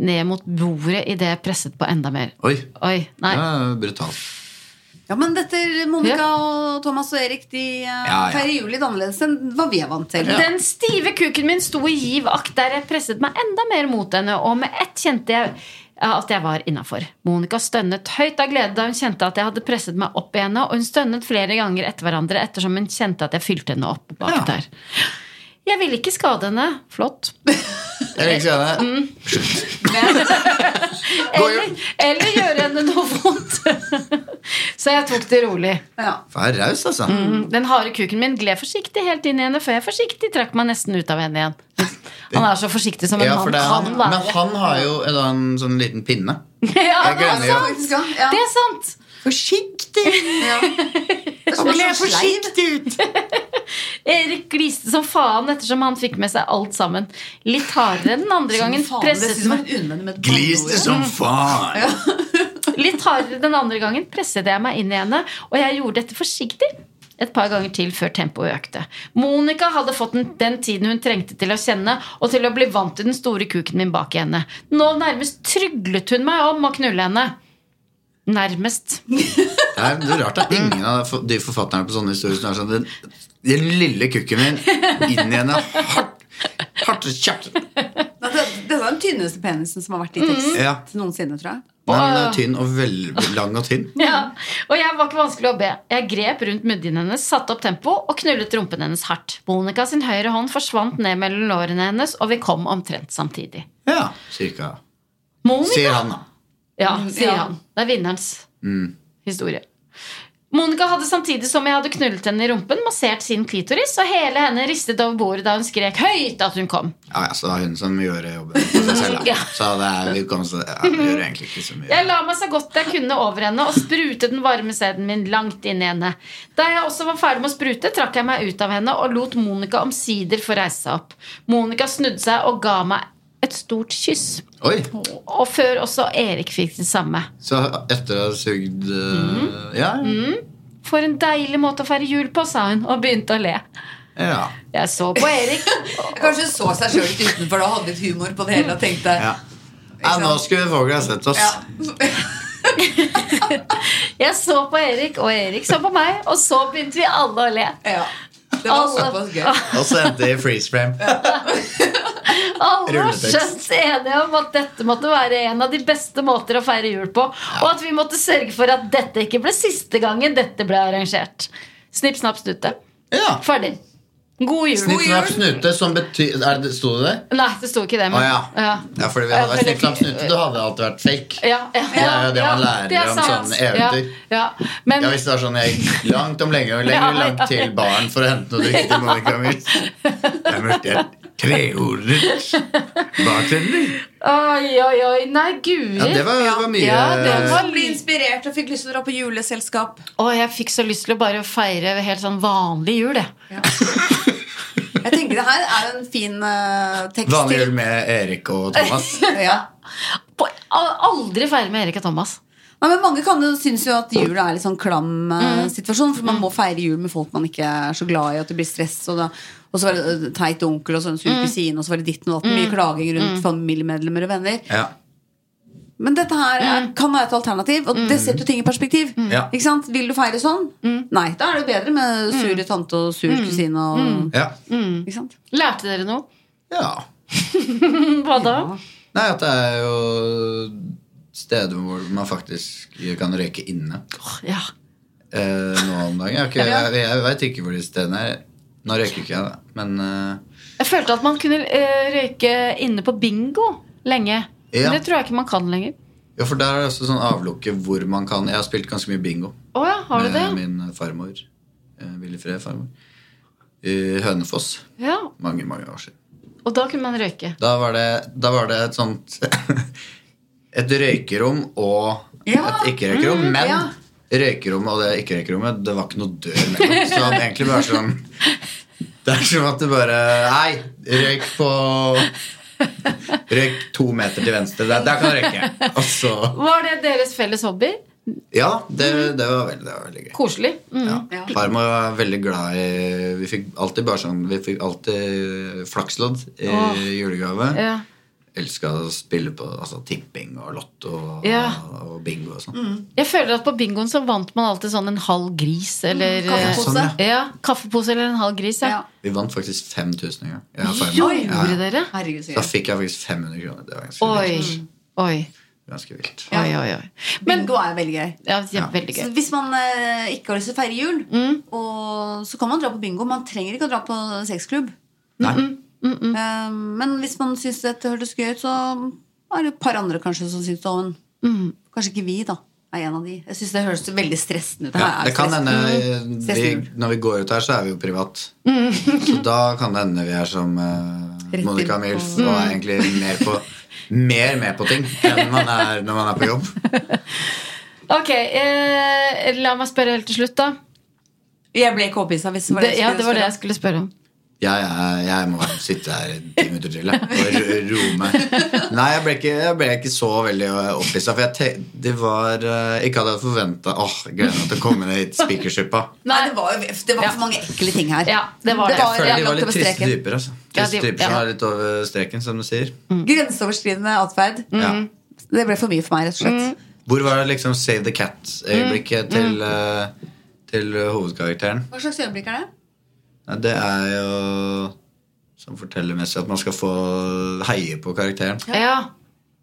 Speaker 2: ned mot bordet idet jeg presset på enda mer.
Speaker 5: Oi.
Speaker 2: Oi, nei.
Speaker 5: Ja, brutalt.
Speaker 3: Ja, men dette Monica og Thomas og Erik de eh,
Speaker 5: ja.
Speaker 3: feirer jul litt annerledes enn hva vi er vant til.
Speaker 2: Den stive kuken min sto i giv akt der jeg presset meg enda mer mot henne, og med ett kjente jeg eh, at jeg var innafor. Monica stønnet høyt av glede da hun kjente at jeg hadde presset meg opp i henne, og hun stønnet flere ganger etter hverandre ettersom hun kjente at jeg fylte henne opp bak der. Jeg ville ikke skade henne. Flott.
Speaker 5: Erik sier det.
Speaker 3: Mm.
Speaker 2: Eller, eller gjøre henne noe vondt. Så jeg tok det rolig.
Speaker 3: Ja.
Speaker 5: Vær raus, altså.
Speaker 3: Mm.
Speaker 2: Den harde kuken min gled forsiktig helt inn i henne før jeg forsiktig trakk meg nesten ut av henne igjen. Han er så forsiktig som en
Speaker 5: Ja, for
Speaker 2: mann
Speaker 5: det er han,
Speaker 2: kan
Speaker 5: men
Speaker 2: være.
Speaker 5: han har jo en annen sånn liten pinne.
Speaker 2: Ja,
Speaker 5: Jeg
Speaker 2: det er
Speaker 5: glemmer jo.
Speaker 2: sant.
Speaker 3: Faktisk, ja. Ja.
Speaker 2: Det er sant.
Speaker 3: Det er som en slags sleiv.
Speaker 2: Erik gliste som faen ettersom han fikk med seg alt sammen. Litt hardere enn den andre gangen
Speaker 3: Faen, det
Speaker 2: presset
Speaker 3: synes jeg var en unnvendig med et banneord.
Speaker 5: Gliste som faen!
Speaker 2: Litt hardere den andre gangen presset jeg meg inn i henne, og jeg gjorde dette forsiktig et par ganger til før tempoet økte. Monica hadde fått den, den tiden hun trengte til å kjenne og til å bli vant til den store kuken min bak i henne. Nå nærmest tryglet hun meg om å knulle henne. Nærmest.
Speaker 5: Det er, det er rart at ingen av de forfatterne på sånne historier som er sånn Den, den lille kukken min inn i henne hardt, hardt og kjapt. Nei,
Speaker 3: Nei, det- Dette er den tynneste penisen som har vært i tekst
Speaker 5: Ja.
Speaker 3: noensinne, tror jeg.
Speaker 5: men den er tynn og veldig lang og tynn.
Speaker 2: Ja. Og jeg var ikke vanskelig å be. Jeg grep rundt muddien hennes, satte opp tempo og knullet rumpen hennes hardt. Monica sin høyre hånd forsvant ned mellom lårene hennes, og vi kom omtrent samtidig.
Speaker 5: Ja, cirka.
Speaker 2: Monica
Speaker 5: Sier han, Mm. da.
Speaker 2: Ja, sier
Speaker 3: ja.
Speaker 2: han. Det er vinnerens historie. Monica hadde samtidig som jeg hadde knullet henne i rumpen, massert sin klitoris, og hele henne ristet over bordet da hun skrek høyt at hun kom.
Speaker 5: Ja, ja, så det er hun som gjør jobben for seg selv.
Speaker 2: Ja.
Speaker 5: Da. Så det er, vi kommer til- ja, vi gjør egentlig ikke så mye.
Speaker 2: Jeg la meg så godt jeg kunne over henne og sprutet den varme sæden min langt inn i henne. Da jeg også var ferdig med å sprute, trakk jeg meg ut av henne og lot Monica omsider få reise seg opp. Monica snudde seg og ga meg et stort kyss.
Speaker 5: Oi,
Speaker 2: Og før også Erik fikk det samme.
Speaker 5: Så etter å ha sugd eh, Ja,
Speaker 2: For en deilig måte å feire jul på, sa hun og begynte å le.
Speaker 5: ja. Ja.
Speaker 2: Jeg så på Erik.
Speaker 3: Kanskje hun så seg sjøl litt utenfor da, hadde litt humor på det hele og tenkte
Speaker 5: ja. Nei, nå skulle Våglia sett oss.
Speaker 3: ja.
Speaker 2: Jeg så på Erik, og Erik så på meg, og så begynte vi alle å le.
Speaker 3: ja. Det var
Speaker 2: Alle-
Speaker 3: såpass gøy.
Speaker 5: Og så endte det i freeze frame.
Speaker 2: Alle var
Speaker 5: Rulletekst.
Speaker 2: skjønt enige om at dette måtte være en av de beste måter å feire jul på, og at vi måtte sørge for at dette ikke ble siste gangen dette ble arrangert. Snipp, snapp, snute.
Speaker 5: Ja.
Speaker 2: Ferdig. God jul.
Speaker 5: Snipp, snapp, snute, som betyr er det, Sto det der?
Speaker 2: Nei, det sto ikke det.
Speaker 5: Å
Speaker 2: Men,
Speaker 5: ja.
Speaker 2: ja.
Speaker 5: ja, fordi vi
Speaker 2: Ja,
Speaker 5: hadde
Speaker 2: veldig
Speaker 5: snipp, snapp,
Speaker 2: fint.
Speaker 5: snute. Du hadde alltid vært fake.
Speaker 2: Ja, ja,
Speaker 5: Det er jo det man lærer
Speaker 2: er
Speaker 5: om
Speaker 2: sant.
Speaker 5: sånne eventyr.
Speaker 2: Ja, ja. Men,
Speaker 5: Ja, hvis det var sånn jeg gikk langt om lenge og
Speaker 2: Ja,
Speaker 5: lenger
Speaker 2: ja,
Speaker 5: langt
Speaker 2: ja.
Speaker 5: til baren for å hente noe drikke til Monica Mills. Der møtte jeg treordet bartender.
Speaker 2: Oi, oi, oi. Nei, guri.
Speaker 5: Ja, det var, var mye
Speaker 2: Ja, det var-
Speaker 5: Eh.
Speaker 3: Hun ble inspirert og fikk lyst til å dra på juleselskap.
Speaker 2: Å, jeg fikk så lyst til å bare feire helt sånn vanlig jul, jeg.
Speaker 3: Jeg tenker det her er en fin eh, tekst
Speaker 5: Vanlig
Speaker 3: til.
Speaker 5: jul med Erik og Thomas.
Speaker 3: Ja.
Speaker 2: På- al- Aldri feire med Erik og Thomas.
Speaker 3: Nei, men mange kan jo synes jo at jul er litt sånn klam eh, situasjon, for man må feire jul med folk man ikke er så glad i, at det blir stress, og, da, og så var det eh, teit onkel og sånn sur kusine, og så var det ditten og datten, mye klaging rundt familiemedlemmer og venner.
Speaker 5: Ja.
Speaker 3: Men dette her er, kan være et alternativ, og det setter jo ting i perspektiv.
Speaker 5: Ja.
Speaker 3: Ikke sant? Vil du feire sånn? Nei, da er det bedre med sure tante og sur kusine og
Speaker 5: Ja.
Speaker 2: Mm.
Speaker 3: Ikke sant?
Speaker 2: Lærte dere noe?
Speaker 5: ja.
Speaker 2: Hva da?
Speaker 5: Nei, at det er jo steder hvor man faktisk kan røyke inne
Speaker 2: Ja.
Speaker 5: eh, nå om dagen. Jeg, har ikke- jeg, jeg veit ikke hvor de stedene er. Nå røyker ikke jeg, da. Men eh,
Speaker 2: Jeg følte at man kunne eh, røyke inne på bingo lenge.
Speaker 5: Ja.
Speaker 2: Men det tror jeg ikke man kan lenger.
Speaker 5: ja, for der er det også sånn avlukke hvor man kan Jeg har spilt ganske mye bingo.
Speaker 2: Å ja, har du det?
Speaker 5: med min farmor. eh, Willy Fred farmor. I Hønefoss.
Speaker 2: Ja,
Speaker 5: Mange, mange år siden.
Speaker 2: Og da kunne man røyke.
Speaker 5: Da var det, da var det et sånt Et røykerom og
Speaker 3: Ja,
Speaker 5: et ikke-røykerom.
Speaker 2: Mm,
Speaker 5: Men
Speaker 3: ja.
Speaker 5: røykerommet og det ikke-røykerommet, det var ikke noe dør mellom. Så det var egentlig bare sånn Det er som at du bare Nei, røyk på Røyk to meter til venstre. Der, der kan du røyke. Og så
Speaker 2: Var det deres felles hobby?
Speaker 5: Ja, det,
Speaker 2: Mm.
Speaker 5: det, var veldig, det var veldig gøy.
Speaker 2: Koselig. Mm.
Speaker 5: Ja. Farmor var veldig glad i Vi fikk alltid bare sånn Vi fikk alltid flakslodd i
Speaker 2: Åh.
Speaker 5: julegave.
Speaker 2: Ja.
Speaker 5: Elska å spille på altså, tipping og lotto og,
Speaker 2: Ja. Mm.
Speaker 5: og bingo og sånn.
Speaker 2: Jeg føler at på bingoen så vant man alltid sånn en halv gris eller
Speaker 3: Mm, kaffepose.
Speaker 5: Ja, sånn,
Speaker 2: eh, ja, kaffepose eller en halv gris, ja.
Speaker 3: Ja.
Speaker 5: Vi vant faktisk 5000 en gang. Jeg og farmor.
Speaker 2: Jo, gjorde
Speaker 5: Ja.
Speaker 2: dere?
Speaker 3: Herregud, så
Speaker 5: Da
Speaker 3: gøy.
Speaker 5: fikk jeg faktisk 500 kroner. Det var ganske,
Speaker 2: Oi. Oi.
Speaker 5: ganske vilt.
Speaker 2: Oi, oi, oi. Men
Speaker 3: Bingo er veldig gøy.
Speaker 2: ja, det er veldig gøy. Mm.
Speaker 3: Så hvis man eh, ikke har lyst til å feire jul, og, så kan man dra på bingo. Man trenger ikke å dra på sexklubb.
Speaker 5: Nei.
Speaker 3: Eh, men hvis man syns dette hørtes gøy ut, så er det et par andre kanskje som syns det. Men
Speaker 2: Mm.
Speaker 3: kanskje ikke vi, da. Er en av de. Jeg syns det høres veldig stressende ut.
Speaker 5: Ja,
Speaker 3: her er
Speaker 5: det kan
Speaker 3: stress.
Speaker 5: hende eh, vi,
Speaker 3: Stressende.
Speaker 5: Når vi går ut her, så er vi jo privat. Så da kan det hende vi er som uh,
Speaker 3: inn
Speaker 5: Monica
Speaker 3: på-
Speaker 5: Milf og er egentlig mer, på, mer med på ting enn man er når man er på jobb.
Speaker 2: Ok, eh, la meg spørre helt til slutt, da.
Speaker 3: Jeg ble ikke overbevist av hvis det var
Speaker 2: Det,
Speaker 3: det,
Speaker 2: ja, det var det
Speaker 3: jeg
Speaker 2: jeg skulle spørre om.
Speaker 5: Jeg, er- jeg må sitte her i ti minutter til jeg, og ro- roe meg. Nei, jeg ble ikke, jeg ble ikke så veldig opphissa. For jeg te, det var eh, Ikke hadde jeg forventa Åh, jeg gleder meg til å komme ned hit speakershippa.
Speaker 3: skulle Nei, det var, jo- det var for mange ekle ting her.
Speaker 2: Ja, det var det.
Speaker 3: Det
Speaker 5: Jeg føler
Speaker 3: jeg
Speaker 5: de
Speaker 3: lagt
Speaker 5: var litt
Speaker 3: over
Speaker 5: triste
Speaker 3: streken.
Speaker 5: typer. Altså.
Speaker 2: Ja,
Speaker 5: Triste
Speaker 2: de-
Speaker 5: typer som
Speaker 2: ja.
Speaker 5: er litt over streken, som du sier.
Speaker 3: Mm. Grenseoverskridende atferd.
Speaker 2: Mm.
Speaker 5: Ja.
Speaker 3: Det ble for mye for meg, rett og slett.
Speaker 5: Hvor var det liksom Save the
Speaker 2: Mm.
Speaker 5: Cat-øyeblikket til, eh, til eh, hovedkarakteren?
Speaker 3: Hva slags øyeblikk er det?
Speaker 5: Nei, Det er jo som fortellermessig at man skal få heie på karakteren.
Speaker 2: Ja.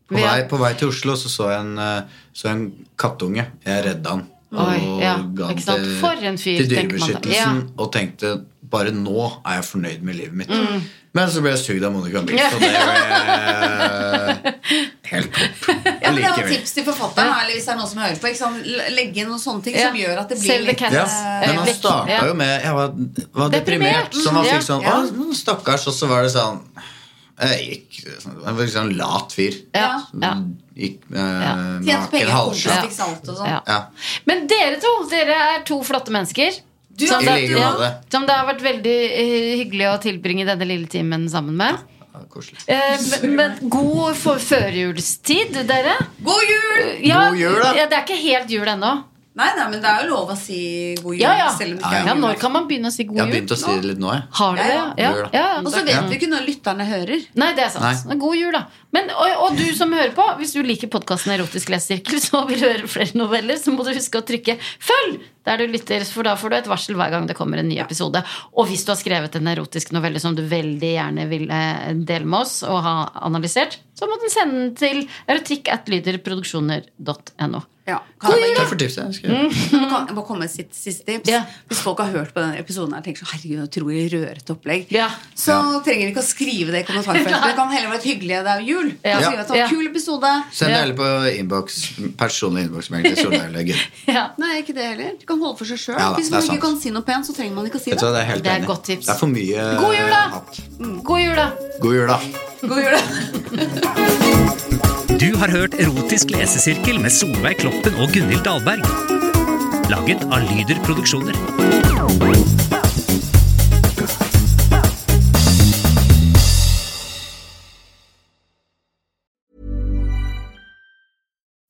Speaker 5: På
Speaker 2: Ja.
Speaker 5: vei, på vei til Oslo så, så jeg en, eh, så jeg en kattunge. Jeg redda han.
Speaker 2: Oi, ja.
Speaker 5: ga han
Speaker 2: Ikke sant?
Speaker 5: til-
Speaker 2: For en fyr,
Speaker 5: Til
Speaker 2: tenker man da.
Speaker 5: Dyrebeskyttelsen. Og tenkte bare nå er jeg fornøyd med livet mitt.
Speaker 2: Mm.
Speaker 5: Men så ble jeg sugd av Monica Mills, og det ble helt topp.
Speaker 3: Ja, men det er jo
Speaker 5: Allikevel.
Speaker 3: tips til forfatteren eller hvis det er noen som hører på. Ikke sant? L- Legge inn noen sånne ting som
Speaker 2: Ja.
Speaker 3: gjør at det
Speaker 2: Save
Speaker 3: blir
Speaker 2: the
Speaker 3: litt
Speaker 2: cat.
Speaker 5: Ja,
Speaker 2: Eh,
Speaker 5: men han
Speaker 2: vekk.
Speaker 5: starta
Speaker 2: Ja.
Speaker 5: jo med Jeg var, var
Speaker 2: Deprimert.
Speaker 5: deprimert. Så man
Speaker 2: Mm,
Speaker 5: fikk
Speaker 2: ja,
Speaker 5: sånn
Speaker 3: ja.
Speaker 5: Å, stakkars. Og så var det sånn Jeg gikk sånn- Jeg var liksom en lat fyr.
Speaker 2: Ja, ja.
Speaker 5: Gikk eh,
Speaker 3: Tjente
Speaker 5: maken
Speaker 3: penger,
Speaker 5: halvsjuk.
Speaker 3: kompis fikk salt og sånn.
Speaker 2: Ja.
Speaker 5: Ja.
Speaker 2: Men dere to, dere er to flotte mennesker.
Speaker 3: Du-
Speaker 2: som,
Speaker 5: I
Speaker 2: det,
Speaker 5: like
Speaker 2: ja,
Speaker 5: måte.
Speaker 2: som det har vært veldig eh, hyggelig å tilbringe denne lille timen sammen med.
Speaker 5: Ja, Koselig.
Speaker 2: Eh, men- men god for førjulstid, dere.
Speaker 3: God jul!
Speaker 2: Ja,
Speaker 5: God jul, da.
Speaker 2: Ja, det er ikke helt jul ennå.
Speaker 3: Nei, nei, men det er jo lov å si god jul.
Speaker 2: Ja, ja.
Speaker 3: Selv om det ikke er
Speaker 2: ja,
Speaker 3: jul.
Speaker 2: når kan man begynne å si
Speaker 5: Jeg har
Speaker 2: god jul?
Speaker 5: begynt å si det litt nå, jeg.
Speaker 2: Har dere det?
Speaker 3: Ja,
Speaker 2: Ja,
Speaker 5: gjør det.
Speaker 2: ja.
Speaker 3: Og så
Speaker 2: Takk.
Speaker 3: vet vi ikke når lytterne hører.
Speaker 2: Nei, det er sant.
Speaker 5: Nei.
Speaker 2: God jul, da. Men, og, og du som hører på, hvis du liker podkasten Erotisk lesesirkel og vil høre flere noveller, så må du huske å trykke 'følg' der du lytter, for da får du et varsel hver gang det kommer en ny episode. Og hvis du har skrevet en erotisk novelle som du veldig gjerne vil eh, dele med oss og ha analysert, så må du sende den til erotikk.lyderproduksjoner.no.
Speaker 3: Ja, kan jeg,
Speaker 5: Takk
Speaker 3: bare,
Speaker 5: for tipset. jeg
Speaker 2: Mm.
Speaker 5: skal-
Speaker 3: kan, kan jeg bare komme med sitt siste tips?
Speaker 2: Ja.
Speaker 3: Hvis folk har hørt på denne episoden her og tenker sånn herregud, det er utrolig rørete opplegg,
Speaker 2: Ja.
Speaker 3: så trenger de ikke å skrive det i kommentarfeltet. Det kan heller være et hyggelig det er jo jul.
Speaker 2: Ja.
Speaker 3: Skrive at det var
Speaker 2: Ja.
Speaker 3: en kul episode.
Speaker 5: Send det heller på innboks. Personlig innboks. med egentlig Solveig eller Gunn.
Speaker 2: Ja.
Speaker 3: Nei, ikke det heller. Du kan holde for seg sjøl.
Speaker 5: Ja da,
Speaker 3: Hvis
Speaker 5: det er
Speaker 3: man ikke
Speaker 5: sant.
Speaker 3: kan si noe pent, så trenger man ikke å si
Speaker 5: Vet du hva,
Speaker 3: det.
Speaker 5: Det er helt
Speaker 2: Det er et
Speaker 5: enig.
Speaker 2: godt tips.
Speaker 5: Det er for mye
Speaker 2: God jul, da!
Speaker 5: hat.
Speaker 2: God jul, da.
Speaker 5: God jul, da!
Speaker 3: God jul, da.
Speaker 4: Du har hørt Erotisk lesesirkel med Solveig Kloppen og Gunhild Dahlberg. Laget av Lyder Produksjoner.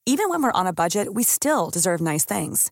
Speaker 7: Even when we're on a budget, we still deserve nice things.